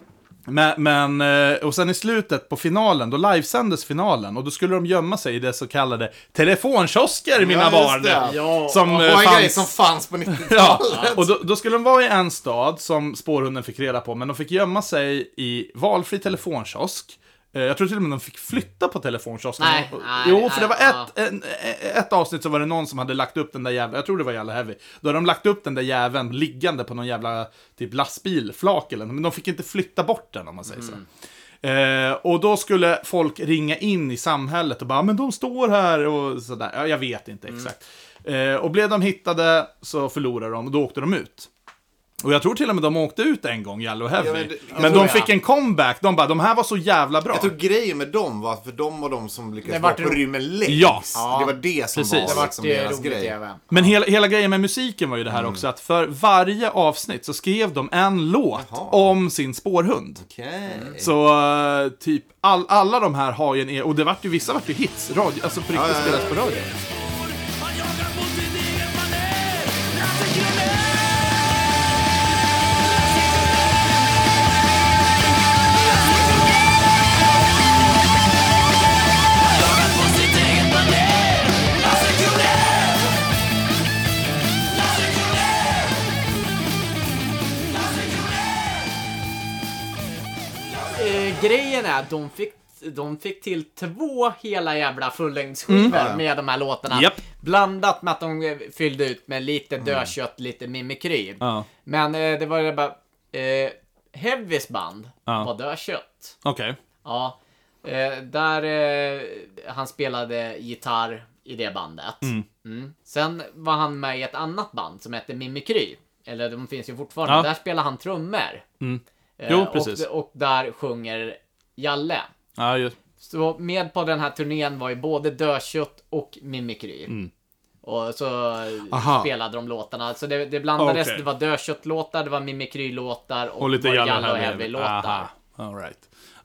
men, men, eh, och sen i slutet på finalen, då livesändes finalen och då skulle de gömma sig i det så kallade telefonkiosker, mina Ja, just barn! det. Ja, som Det eh, var en grej fanns... som fanns på <laughs> 90-talet. Ja, och då, då skulle de vara i en stad som spårhunden fick reda på, men de fick gömma sig i valfri telefonkiosk. Eh, Jag tror till och med de fick flytta på telefonkiosken. Nej, Och- och- nej, jo, för det nej, var ett, en, e- ett avsnitt så var det någon som hade lagt upp den där jäveln, jag tror det var Jalla Heavy. Då hade de lagt upp den där jäveln liggande på någon jävla typ lastbilflak eller något, men de fick inte flytta bort den om man säger Mm. så. Eh, och då skulle folk ringa in i samhället och bara, "Ah, men de står här och sådär. Ja, jag vet inte Mm. exakt. Eh, och blev de hittade så förlorade de och då åkte de ut. Och jag tror till och med de åkte ut en gång, Yellow Heavy. Ja, men men det- jag tror de jag. fick en comeback. De bara, de här var så jävla bra. Jag tror grejen med dem var att för de var de som lyckades Det vara vart på ro- rymmen längst. Ja. Det var det som Precis. Det var vart liksom det är deras roligt grej. även. Men hela, hela grejen med musiken var ju det Mm. här också, att för varje avsnitt så skrev de en låt om sin spårhund. Okej. Så eh, typ all, alla de här har ju en e- och det vart ju vissa vart ju hits, radio, alltså på riktigt ja, ja. spelas på radio. Eh, grejen är att de fick de fick till två hela jävla fullängdsskivor med de här låtarna. Japp. Blandat med att de eh, fyllde ut med lite dödkött, lite mimikry. Ja. Men eh, det var ju bara... Eh, Heavys band Ja. var dödkött. Okej. Ja, eh, där eh, han spelade gitarr i det bandet. Mm. Sen var han med i ett annat band som hette Mimikry. Eller de finns ju fortfarande. Ja. Mm. Där spelar han trummor. Eh, Jo, precis. Och, och där sjunger Jalle. Ja, just. Så med på den här turnén var ju både Dödkött och Mimikry. Och så Mm. Aha. spelade de låtarna. Så det, det blandades. Okej. Det var Dödkött-låtar, det var Mimikry-låtar och, Och lite var Jalle Jalle och Heavy. Heavy-låtar. All right.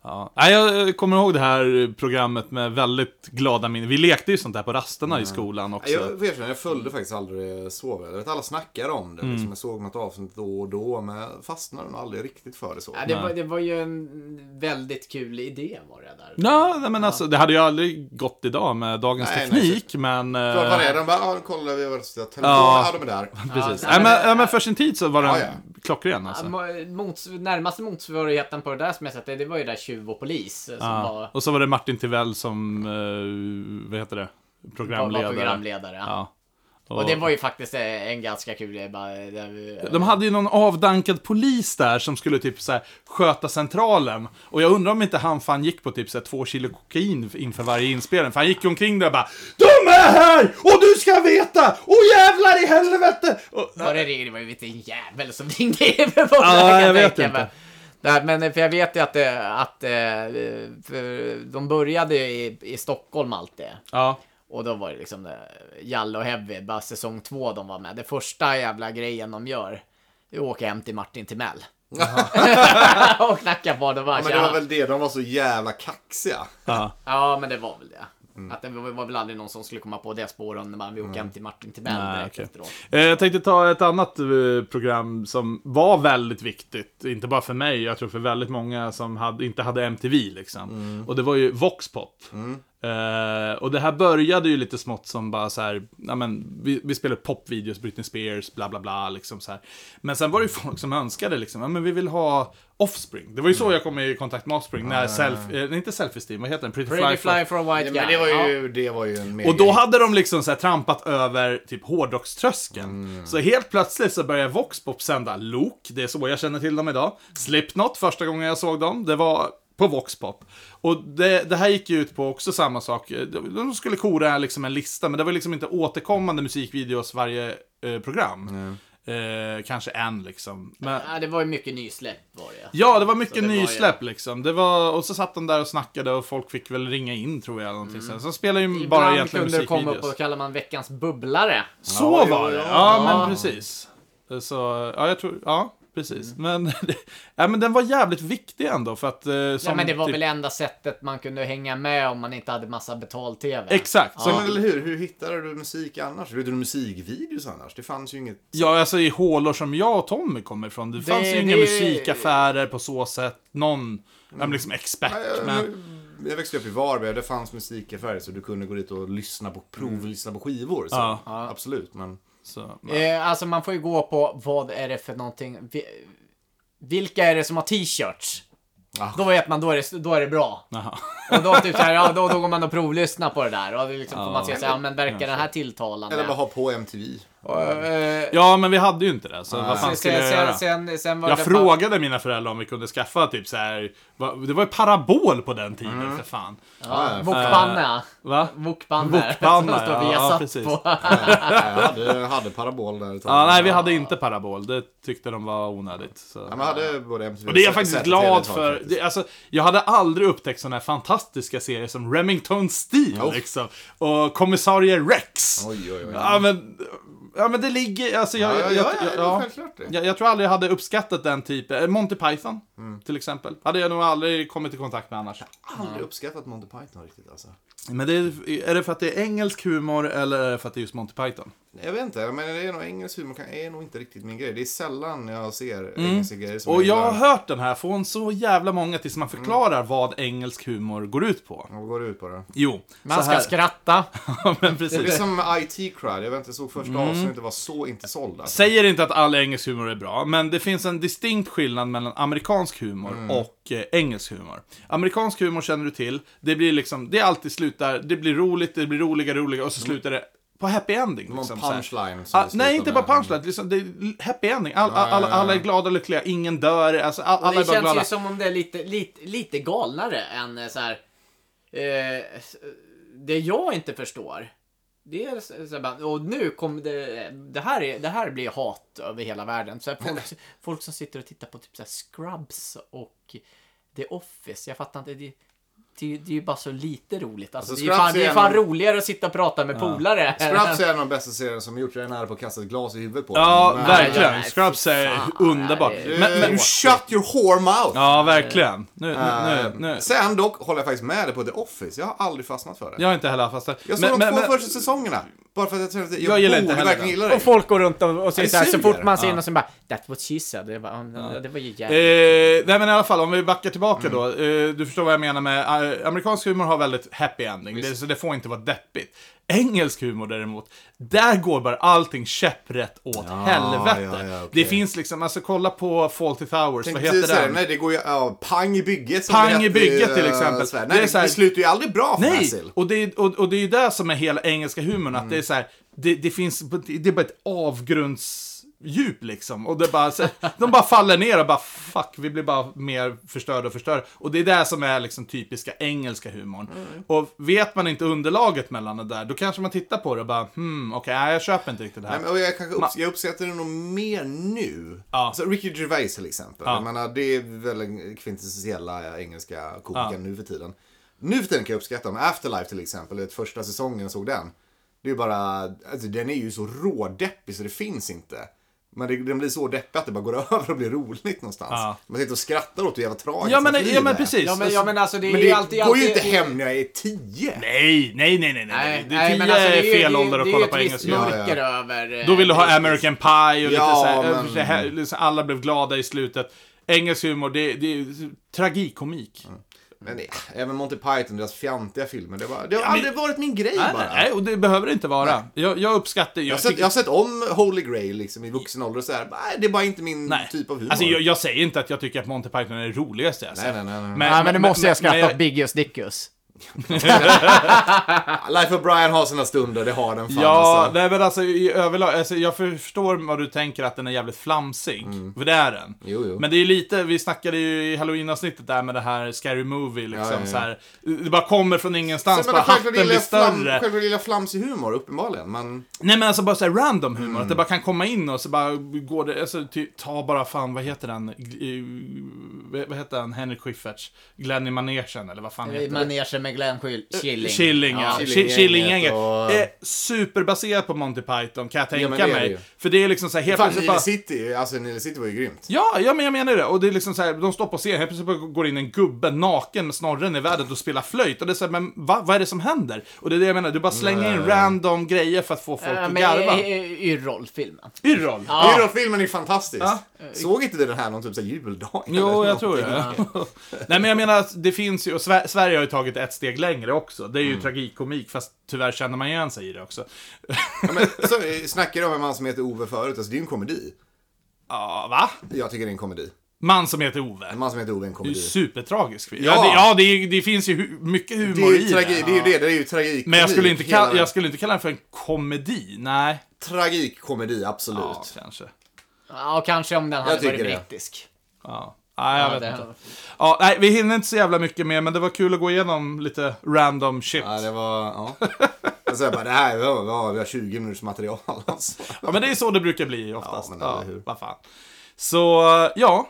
Ja. Nej, jag kommer ihåg det här programmet med väldigt glada minnen. Vi lekte ju sånt där på rasterna Mm. i skolan också. Jag, får erkärna, jag följde faktiskt aldrig eh, sovvädret. Alla snackade om det. Mm. Liksom. Jag såg något avsnitt då och då, men fastnade nog aldrig riktigt för det så. Ja, det, var, det var ju en väldigt kul idé var det där. Ja, nej, men alltså, det hade ju aldrig gått idag med dagens Nej, nej, teknik, men... eh, Klart vad det är. De bara, ja, kolla, vi har telefonen. Ja. Ja, de är där. Precis. Ja, nej, men, men- ja, men för sin tid så var den Ja, ja. klockren alltså. Mo- Mots, närmaste motsvarigheten på det där som jag sett, det var ju där Tjuv och polis. eh, Som Ja. var, Och så var det Martin Tivell som, eh, vad heter det, var, programledare. var programledare. Ja. Och, Och det var ju faktiskt eh, en ganska kul grej. bara, eh, där vi- De hade ju någon avdankad polis där som skulle typ så här sköta centralen. Och jag undrar om inte han fan gick på typ så här två kilo kokain inför varje inspelning. För han gick ju omkring där och bara De är här! Och du ska veta! Och jävlar i helvete! Och, Var det, det var ju inte en jävel som ringde in <laughs> på det Ja, här, kan jag vet tänka inte. mig. Nej, men eh, för jag vet ju att, eh, att eh, för de började ju i, i Stockholm alltid. ja. Och då var det liksom eh, Jalle och Heavy, bara säsong två de var med. Det första jävla grejen de gör, det är att åka hem till Martin Timell. <laughs> och knacka på det och bara, Ja, men det var väl det, de var så jävla kaxiga. Alltså, ja. ja men det var väl det. Mm. Att det var var väl aldrig någon som skulle komma på det spåren när man vill åka hem till Martin Timell Nej, direkt okej. efteråt. Eh, Jag tänkte ta ett annat eh, program som var väldigt viktigt. Inte bara för mig, jag tror för väldigt många som hade, inte hade MTV liksom. Och det var ju Voxpop. Eh, och det här började ju lite smått som bara så här, ja men vi, vi spelade popvideos, Britney Spears, bla bla bla liksom så här. Men sen var det ju folk som önskade liksom, ja men vi vill ha Offspring. Det var ju så jag kom i kontakt med Offspring, när self, eh, inte Self-Esteem, vad heter den? Pretty, Pretty fly Fly for a white Ja, guy. men det var ju, Ja. det var ju en och då hade de liksom så här trampat över typ hårdrockströskeln. Så helt plötsligt så började Voxpop sända Lok, det är så jag känner till dem idag. Slipknot, första gången jag såg dem, det var på Voxpop. Och det, det här gick ju ut på också samma sak. De de skulle kora liksom en lista, men det var liksom inte återkommande musikvideos varje eh, program. Eh, kanske en liksom. Men, Ja, det var ju mycket nysläpp var det. Ja, det var mycket Så det var ju- nysläpp liksom. Det var, och så satt de där och snackade och folk fick väl ringa in tror jag. eller Någonting. Sen så spelar ju bara Mm. Ibland egentligen kunde det komma musikvideos. upp och kallar man veckans bubblare. Så Ja, jo, var det. ja. Ja, men precis. Så, ja, jag tror, ja, precis. Mm. Men, <laughs> ja, men den var jävligt viktig ändå för att... eh, Ja, som men det var typ- väl enda sättet man kunde hänga med om man inte hade massa betal-tv. Exakt. Ja, Som, men eller hur? Hur hittade du musik annars? Hur hittade du musikvideos annars? Det fanns ju inget... ja, alltså i hålor som jag och Tommy kommer ifrån. Det, fanns ju det- inga musikaffärer på så sätt. Någon, ja, men liksom expert. Mm. Jag, Men, jag växte upp i Varberg och det fanns musikaffärer så du kunde gå dit och lyssna på provlyssna på skivor. Så. Mm. Ja. Absolut, men... så, Eh, alltså man får ju gå på vad är det för någonting. Vi, vilka är det som har t-shirts? Ah. Då vet man, då är det, då är det bra. Jaha. Och då, typ så här, ja, då, då går man och provlyssnar på det där. Och det liksom får man se så här, ja, men verkar den här tilltalande? Eller bara ha på MTV. Och, eh, Ja, men vi hade ju inte det, så vad fan sen, skulle jag sen, göra? sen, sen var Jag det frågade mina föräldrar om vi kunde skaffa typ så här. va- Det var ju parabol på den tiden Mm. för fan. Ja, ja. Wokpanna. Va? Wokpanna. Wokpanna, <laughs> Som står ja, <laughs> Viasat ja, precis. på. Jag hade, hade parabol där ett tag. Ja, nej, vi hade inte parabol. Det tyckte de var onödigt. Så. Ja, men hade både MTV Och det är jag och faktiskt ZTV glad ett tag, för. faktiskt. Det, alltså, jag hade aldrig upptäckt sådana här fantastiska serier som Remington Steel Jo. liksom, och Kommissarie Rex. Oh. Oj, oj, oj. Ja, men, ja, men det ligger... Alltså, jag, Ja, ja, jag, ja, jag, det är självklart det. jag, jag tror aldrig jag hade uppskattat den typen. eh, Monty Python, Mm. till exempel. Hade jag nog aldrig kommit i kontakt med annars. aldrig uppskattat Monty Python riktigt alltså. Men det är, är det för att det är engelsk humor eller är det för att det är just Monty Python? Jag vet inte, men det är nog engelsk humor kan- är nog inte riktigt min grej. Det är sällan jag ser engelska grejer som Mm. Och jag har gillar. hört den här från så jävla många tills man förklarar vad engelsk humor går ut på. Vad går det ut på då? Jo, Man så ska här. skratta. <laughs> Ja, men Det är precis. som IT Crowd, jag vet inte, såg första Mm. avsnittet var så inte såld alltså. Säger inte att all engelsk humor är bra, men det finns en distinkt skillnad mellan amerikansk humor och eh, engelsk humor. Amerikansk humor känner du till, det blir liksom, det är alltid slutar, det blir roligt, det blir roligare, roligare och så slutar det på happy ending. Någon Liksom, punchline Så som här. ah, det slutar nej, inte bara med. punchline, liksom, det är happy ending. All, all, alla- alla är glada och lyckliga, ingen dör, alltså, all, alla är det bara känns glada. ju som om det är lite, lite, lite galnare än eh, så här. Eh, s- det jag inte förstår. Det är så så här, bara, och nu kommer det, det här, är, det här blir hat över hela världen. Så här, <laughs> folk, folk som sitter och tittar på typ så här Scrubs och The Office. Jag fattar inte. Det, det, det är ju bara så lite roligt. Alltså, Alltså, det är Scrubs ju fan, det är är fan en- roligare att sitta och prata med polare. <laughs> Scraps är en av de bästa serierna som gjort. Jag är nära på att kasta ett glas i huvudet på Ja, den. Men- verkligen. nej, Scrubs är fan, underbart. nej, Eh, Men, men, you shut your whore mouth! ja, verkligen. Nu, nu, Eh, nu, nu. Sen dock håller jag faktiskt med dig på The Office. Jag har aldrig fastnat för det. Jag har inte heller fast Jag såg de två första säsongerna. Bara för att jag kände att jag, Jag gillar inte borde heller verkligen den. gilla det. Och folk går runt och, och säger Det så här, så suger. fort man ser någon som bara That's what she said. Det, bara, ja. det var ju jävligt. Eh, nej men i alla fall, om vi backar Mm. tillbaka då. Eh, du förstår vad jag menar med, eh, amerikansk humor har väldigt happy ending, det, så det får inte vara deppigt. Engelsk humor däremot, där går bara allting käpprätt åt helvete. ja, ja, okej. Det finns liksom, alltså kolla på Fawlty Towers, vad Tänkte precis heter säga det. den? Nej, det går ju... Ja, pang i bygget som Pang det i hette bygget, till eh, exempel. Sverige. Det är Nej, så det, här- det slutar ju aldrig bra för Nej, Basil. och det, är, och, och det är ju det som är hela engelska humorn, att det är så här, det, det finns, det är bara ett avgrundsdjup liksom. Och det är bara, så, <laughs> de bara faller ner och bara fuck, vi blir bara mer förstörda och förstörda. Och det är det som är liksom typiska engelska humorn. Mm. Och vet man inte underlaget mellan det där, då kanske man tittar på det och bara hmm, okej, nej, jag köper inte riktigt det här. Nej, men och jag, kanske upps- jag uppskattar det nog mer nu. Ja. Alltså Ricky Gervais till exempel. Jag menar, det är väl den kvintessentiella eh, engelska komikern nu för tiden. Nu för tiden kan jag uppskatta dem. Afterlife till exempel, vet, första säsongen jag såg den. Det är ju bara, alltså, den är ju så rådeppig så det finns inte. Men det, den blir så deppig att det bara går <laughs> över och blir roligt någonstans. Ja. Man sitter och skrattar åt hur jävla tragiskt ja, men, hans liv ja, men är. precis. Ja men, ja, men alltså det är Men ju det alltid... går ju alltid- inte hem när jag är tio. Nej, nej, nej, nej, nej. nej. Det är tio men alltså, det är ju- fel det är- ålder att det är kolla ju på ett engelska. visst mörker över... eh, Då vill du ha det- American Pie och lite Ja, såhär, men- eh, så här, liksom alla blev glada i slutet. Engelsk humor, det, det är ju tragikomik. Mm. Men nej, även Monty Python, deras fjantiga filmer. Det, var, det har aldrig varit min grej Nej, bara. nej, och det behöver det inte vara. Jag, jag uppskattar Jag har, jag, sett, tycker- jag har sett om Holy Grail liksom, i vuxen ålder och så här. Nej, det är bara inte min nej. typ av humor. Alltså, jag, jag säger inte att jag tycker att Monty Python är det roligaste jag Nej, nej, nej, nej. Ja, men nu måste jag skratta åt men- Biggus Dickus. Life of Brian har sina stunder, det har den fan. Ja, alltså. nej men alltså i överlag, alltså, jag förstår vad du tänker att den är jävligt flamsig. För det är den. Mm. Jo, jo. Men det är lite, vi snackade ju i halloween-avsnittet där med det här Scary Movie liksom Ja, ja, ja. så här. Det bara kommer från ingenstans, Sen, bara men självklart hatten blir gillar jag flam- större. Självklart gillar jag flamsig humor, uppenbarligen. Men Nej men alltså bara såhär random humor, att det bara kan komma in och så bara går det, alltså ty, ta bara fan, vad heter den, Gl- eh, vad heter den, Henrik Schyfferts, Glenn i manegen eller vad fan Eh, heter den? Manegen med Glenn Schill- Killing. Killing, Eh, ja. Ja. Ki- Killinggänget. och- Eh, Superbaserat på Monty Python kan jag Ja, tänka men det är det mig. ju. För det är liksom såhär helt fan, plötsligt bara... Nile City, alltså Nile City var ju grymt. Ja, ja, men jag menar det. Och det är liksom så här, de står på scen, helt plötsligt bara går in en gubbe naken med snorren i världen och spelar flöjt. Och det är så här, men va? Vad är det som händer? Och det är det jag menar, du bara slänger in random grejer för att få folk Äh, att Men garva. <laughs> i- i- Yrrol-filmen. Yrrol! Ja. Hero-filmen är fantastisk. Såg inte du den här någon typ så här juldag? Jo, eller jag tror någonting? det. <laughs> Nej, men jag menar att det finns ju, och Sver- Sverige har ju tagit ett steg längre också. Det är ju Mm. tragikomik, fast tyvärr känner man igen sig i det också. Ja, men, så eh, snackade jag om en man som heter Ove förut, alltså det är ju en komedi. Ja, va? Jag tycker det är en komedi. Man som heter En Ove. man som heter Ove är en Det är ju komedi. supertragisk film. Ja. Ja, det, ja det, är- det finns ju hu- mycket Det humor är ju i tragik, det. det är ju det, det är ju tragik. Men jag skulle, inte Hela kalla, jag skulle inte kalla den för en komedi. Nej. Tragikkomedi, absolut. Ja, kanske. Ja, och kanske om den hade varit tycker det. brittisk. Ja. Nej, jag Ja, det vet hade- inte. Ja, nej, vi hinner inte så jävla mycket mer, men det var kul att gå igenom lite random shit. Ja, det var... Ja. Jag säger bara, det här var, var, vi har 20 minuters material alltså. Ja, men det är så det brukar bli oftast. Ja, Ja, men eller hur. Vad fan. Så, ja.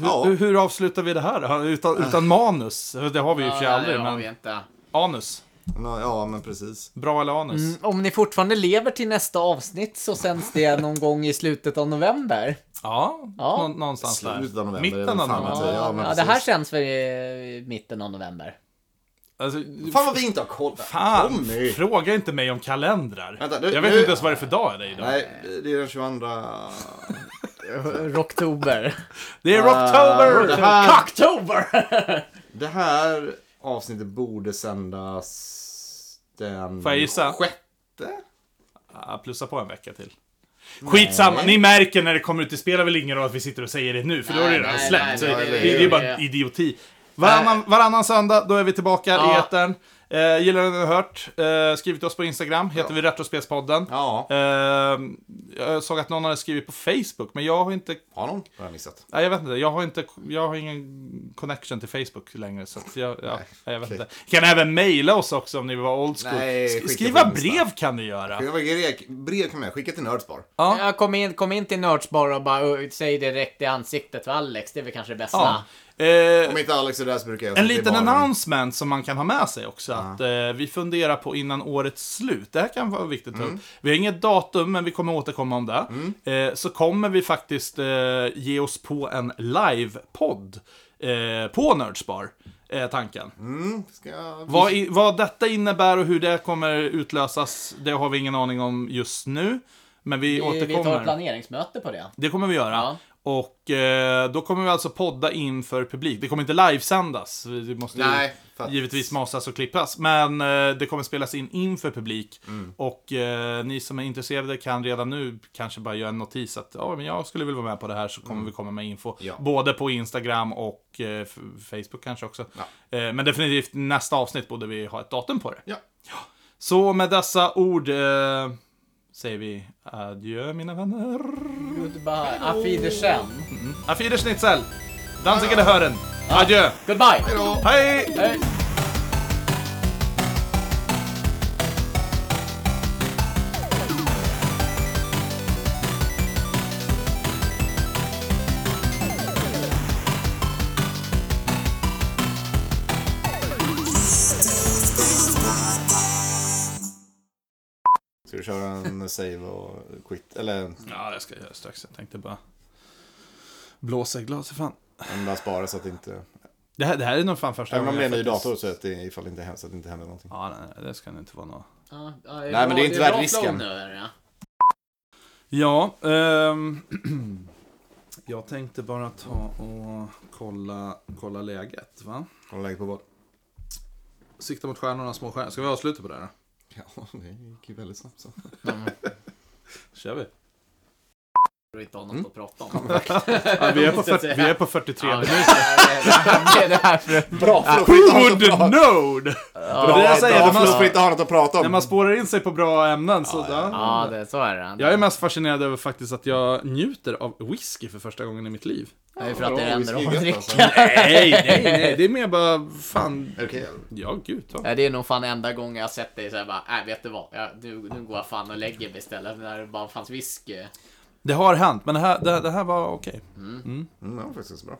Hur, Ja. hur, hur avslutar vi det här då? Utan, utan manus? Det har vi ju i och för sig Ja, aldrig, det har vi men inte. anus. Nå, Ja, men precis. Bra eller anus? Om ni fortfarande lever till nästa avsnitt så sänds det någon gång i slutet av november. Ja, Ja. nå- någonstans där. Slutet av november. Mitten är väl av fan november. att säga. Ja, men Ja, det här <laughs> precis. sänds väl i mitten av november. Alltså, Fan vad vi inte har koll. fan, Tommy! fråga inte mig om kalendrar. Vänta, nu- jag vet nu- inte ens vad det är för dag det är idag. Nej, det är den 22... Rocktober. Det är Rocktober! Ah, det, här, Cocktober! det här avsnittet borde sändas den... Mm. Får jag gissa? Sjätte? Ah, plussa på en vecka till. Skitsamma, ni märker när det kommer ut. Det spelar väl ingen roll att vi sitter och säger det nu, för då är det Nej, redan nej, släppt. nej, Så nej, det, nej, det, nej, är ju bara nej. idioti. Varannan, varannan söndag, då är vi tillbaka i Ja. etern. Eh, gillar ni det ni har hört? Eh, skriv till oss på Instagram, heter vi Retrospelspodden. Ja. Eh, jag såg att någon hade skrivit på Facebook, men jag har inte... Har någon? Har jag missat. Nej, jag vet inte. Jag har, inte, jag har ingen connection till Facebook längre. Så att jag, ja, nej, jag vet okej. inte. Ni kan även mejla oss också om ni vill vara old school. Nej, Sk- skicka skriva på Insta. brev kan ni göra. Det var grek- Brev kan man skicka till Nördspar. Ja, kom, in, kom in till Nördsbar och bara "Ö, säg direkt i ansiktet för Alex. Det är väl kanske det bästa. Ja. Eh, Om inte Alex är där så brukar jag En sitta i liten baren. announcement som man kan ha med sig också. Att eh, vi funderar på innan årets slut. Det här kan vara viktigt att ta Mm. upp. Vi har inget datum, men vi kommer återkomma om det. Eh, så kommer vi faktiskt eh, ge oss på en livepodd eh, på Nördspar. Eh, tanken. Mm, Ska jag... Vad, i, vad detta innebär och hur det kommer utlösas, det har vi ingen aning om just nu. Men vi, Vi, vi återkommer. tar ett planeringsmöte på det. Det kommer vi göra. Ja. Och eh, då kommer vi alltså podda inför publik. Det kommer inte livesändas. Det måste ju Nej, fatt- givetvis masas och klippas. Men eh, det kommer spelas in inför publik. Mm. Och eh, ni som är intresserade kan redan nu kanske bara göra en notis att ja, men jag skulle vilja vara med på det här så kommer vi komma med info. Mm. Ja. Både på Instagram och eh, f- Facebook kanske också. Eh, men definitivt nästa avsnitt borde vi ha ett datum på det. Ja. Så med dessa ord eh, säger vi adjö mina vänner. Goodbye. Auf Wiedersehen. Auf Wiederschnitzel! Danzigende Hören! Adjö! Goodbye. Hej! Hej. Ska du köra en save och quit? Eller Ja, det ska jag göra strax. Jag tänkte bara blåsa i glaset. Fan. en bara spara så att det inte... Det här, det här är nog fan första Även om det är en ny faktiskt- dator så att det, ifall det inte händer, så att det inte händer någonting. Ja, nej, det ska inte vara något. Ja, ja, men det är inte värt bra risken. flow nu, är det. Ja, ehm... <clears throat> Jag tänkte bara ta och kolla, kolla läget, va? Kolla läget på vad? Sikta mot stjärnorna, små stjärnor. Ska vi avsluta på det här då? Ja, <laughs> det gick ju väldigt snabbt så. kör vi. Jag har inte något att prata om. Ja, vi, är på måste <laughs> 40, jag säga. vi är på 43 Ja, det minuter. <laughs> är eh, det här för... Bra fluff! Who would know? Det är det jag säger, Bra när man, fluff för att inte ha något att prata om. när man spårar in sig på bra ämnen så... där. Ja, det, så är det. Jag är mest fascinerad över faktiskt att jag njuter av whisky för första gången i mitt liv. Det är för att det är det enda Bra, de vi har att skriver, dricka. alltså. Nej, nej, nej. Det är mer bara, fan. Är det <laughs> okej, eller? Ja, gud. Ja. Ja, det är nog fan enda gången jag har sett dig såhär bara, nej vet du vad, jag, nu, nu går jag fan och lägger mig istället. När det bara fanns whisky. Det har hänt, men det här, det, det här var okej. Mm, det var faktiskt bra.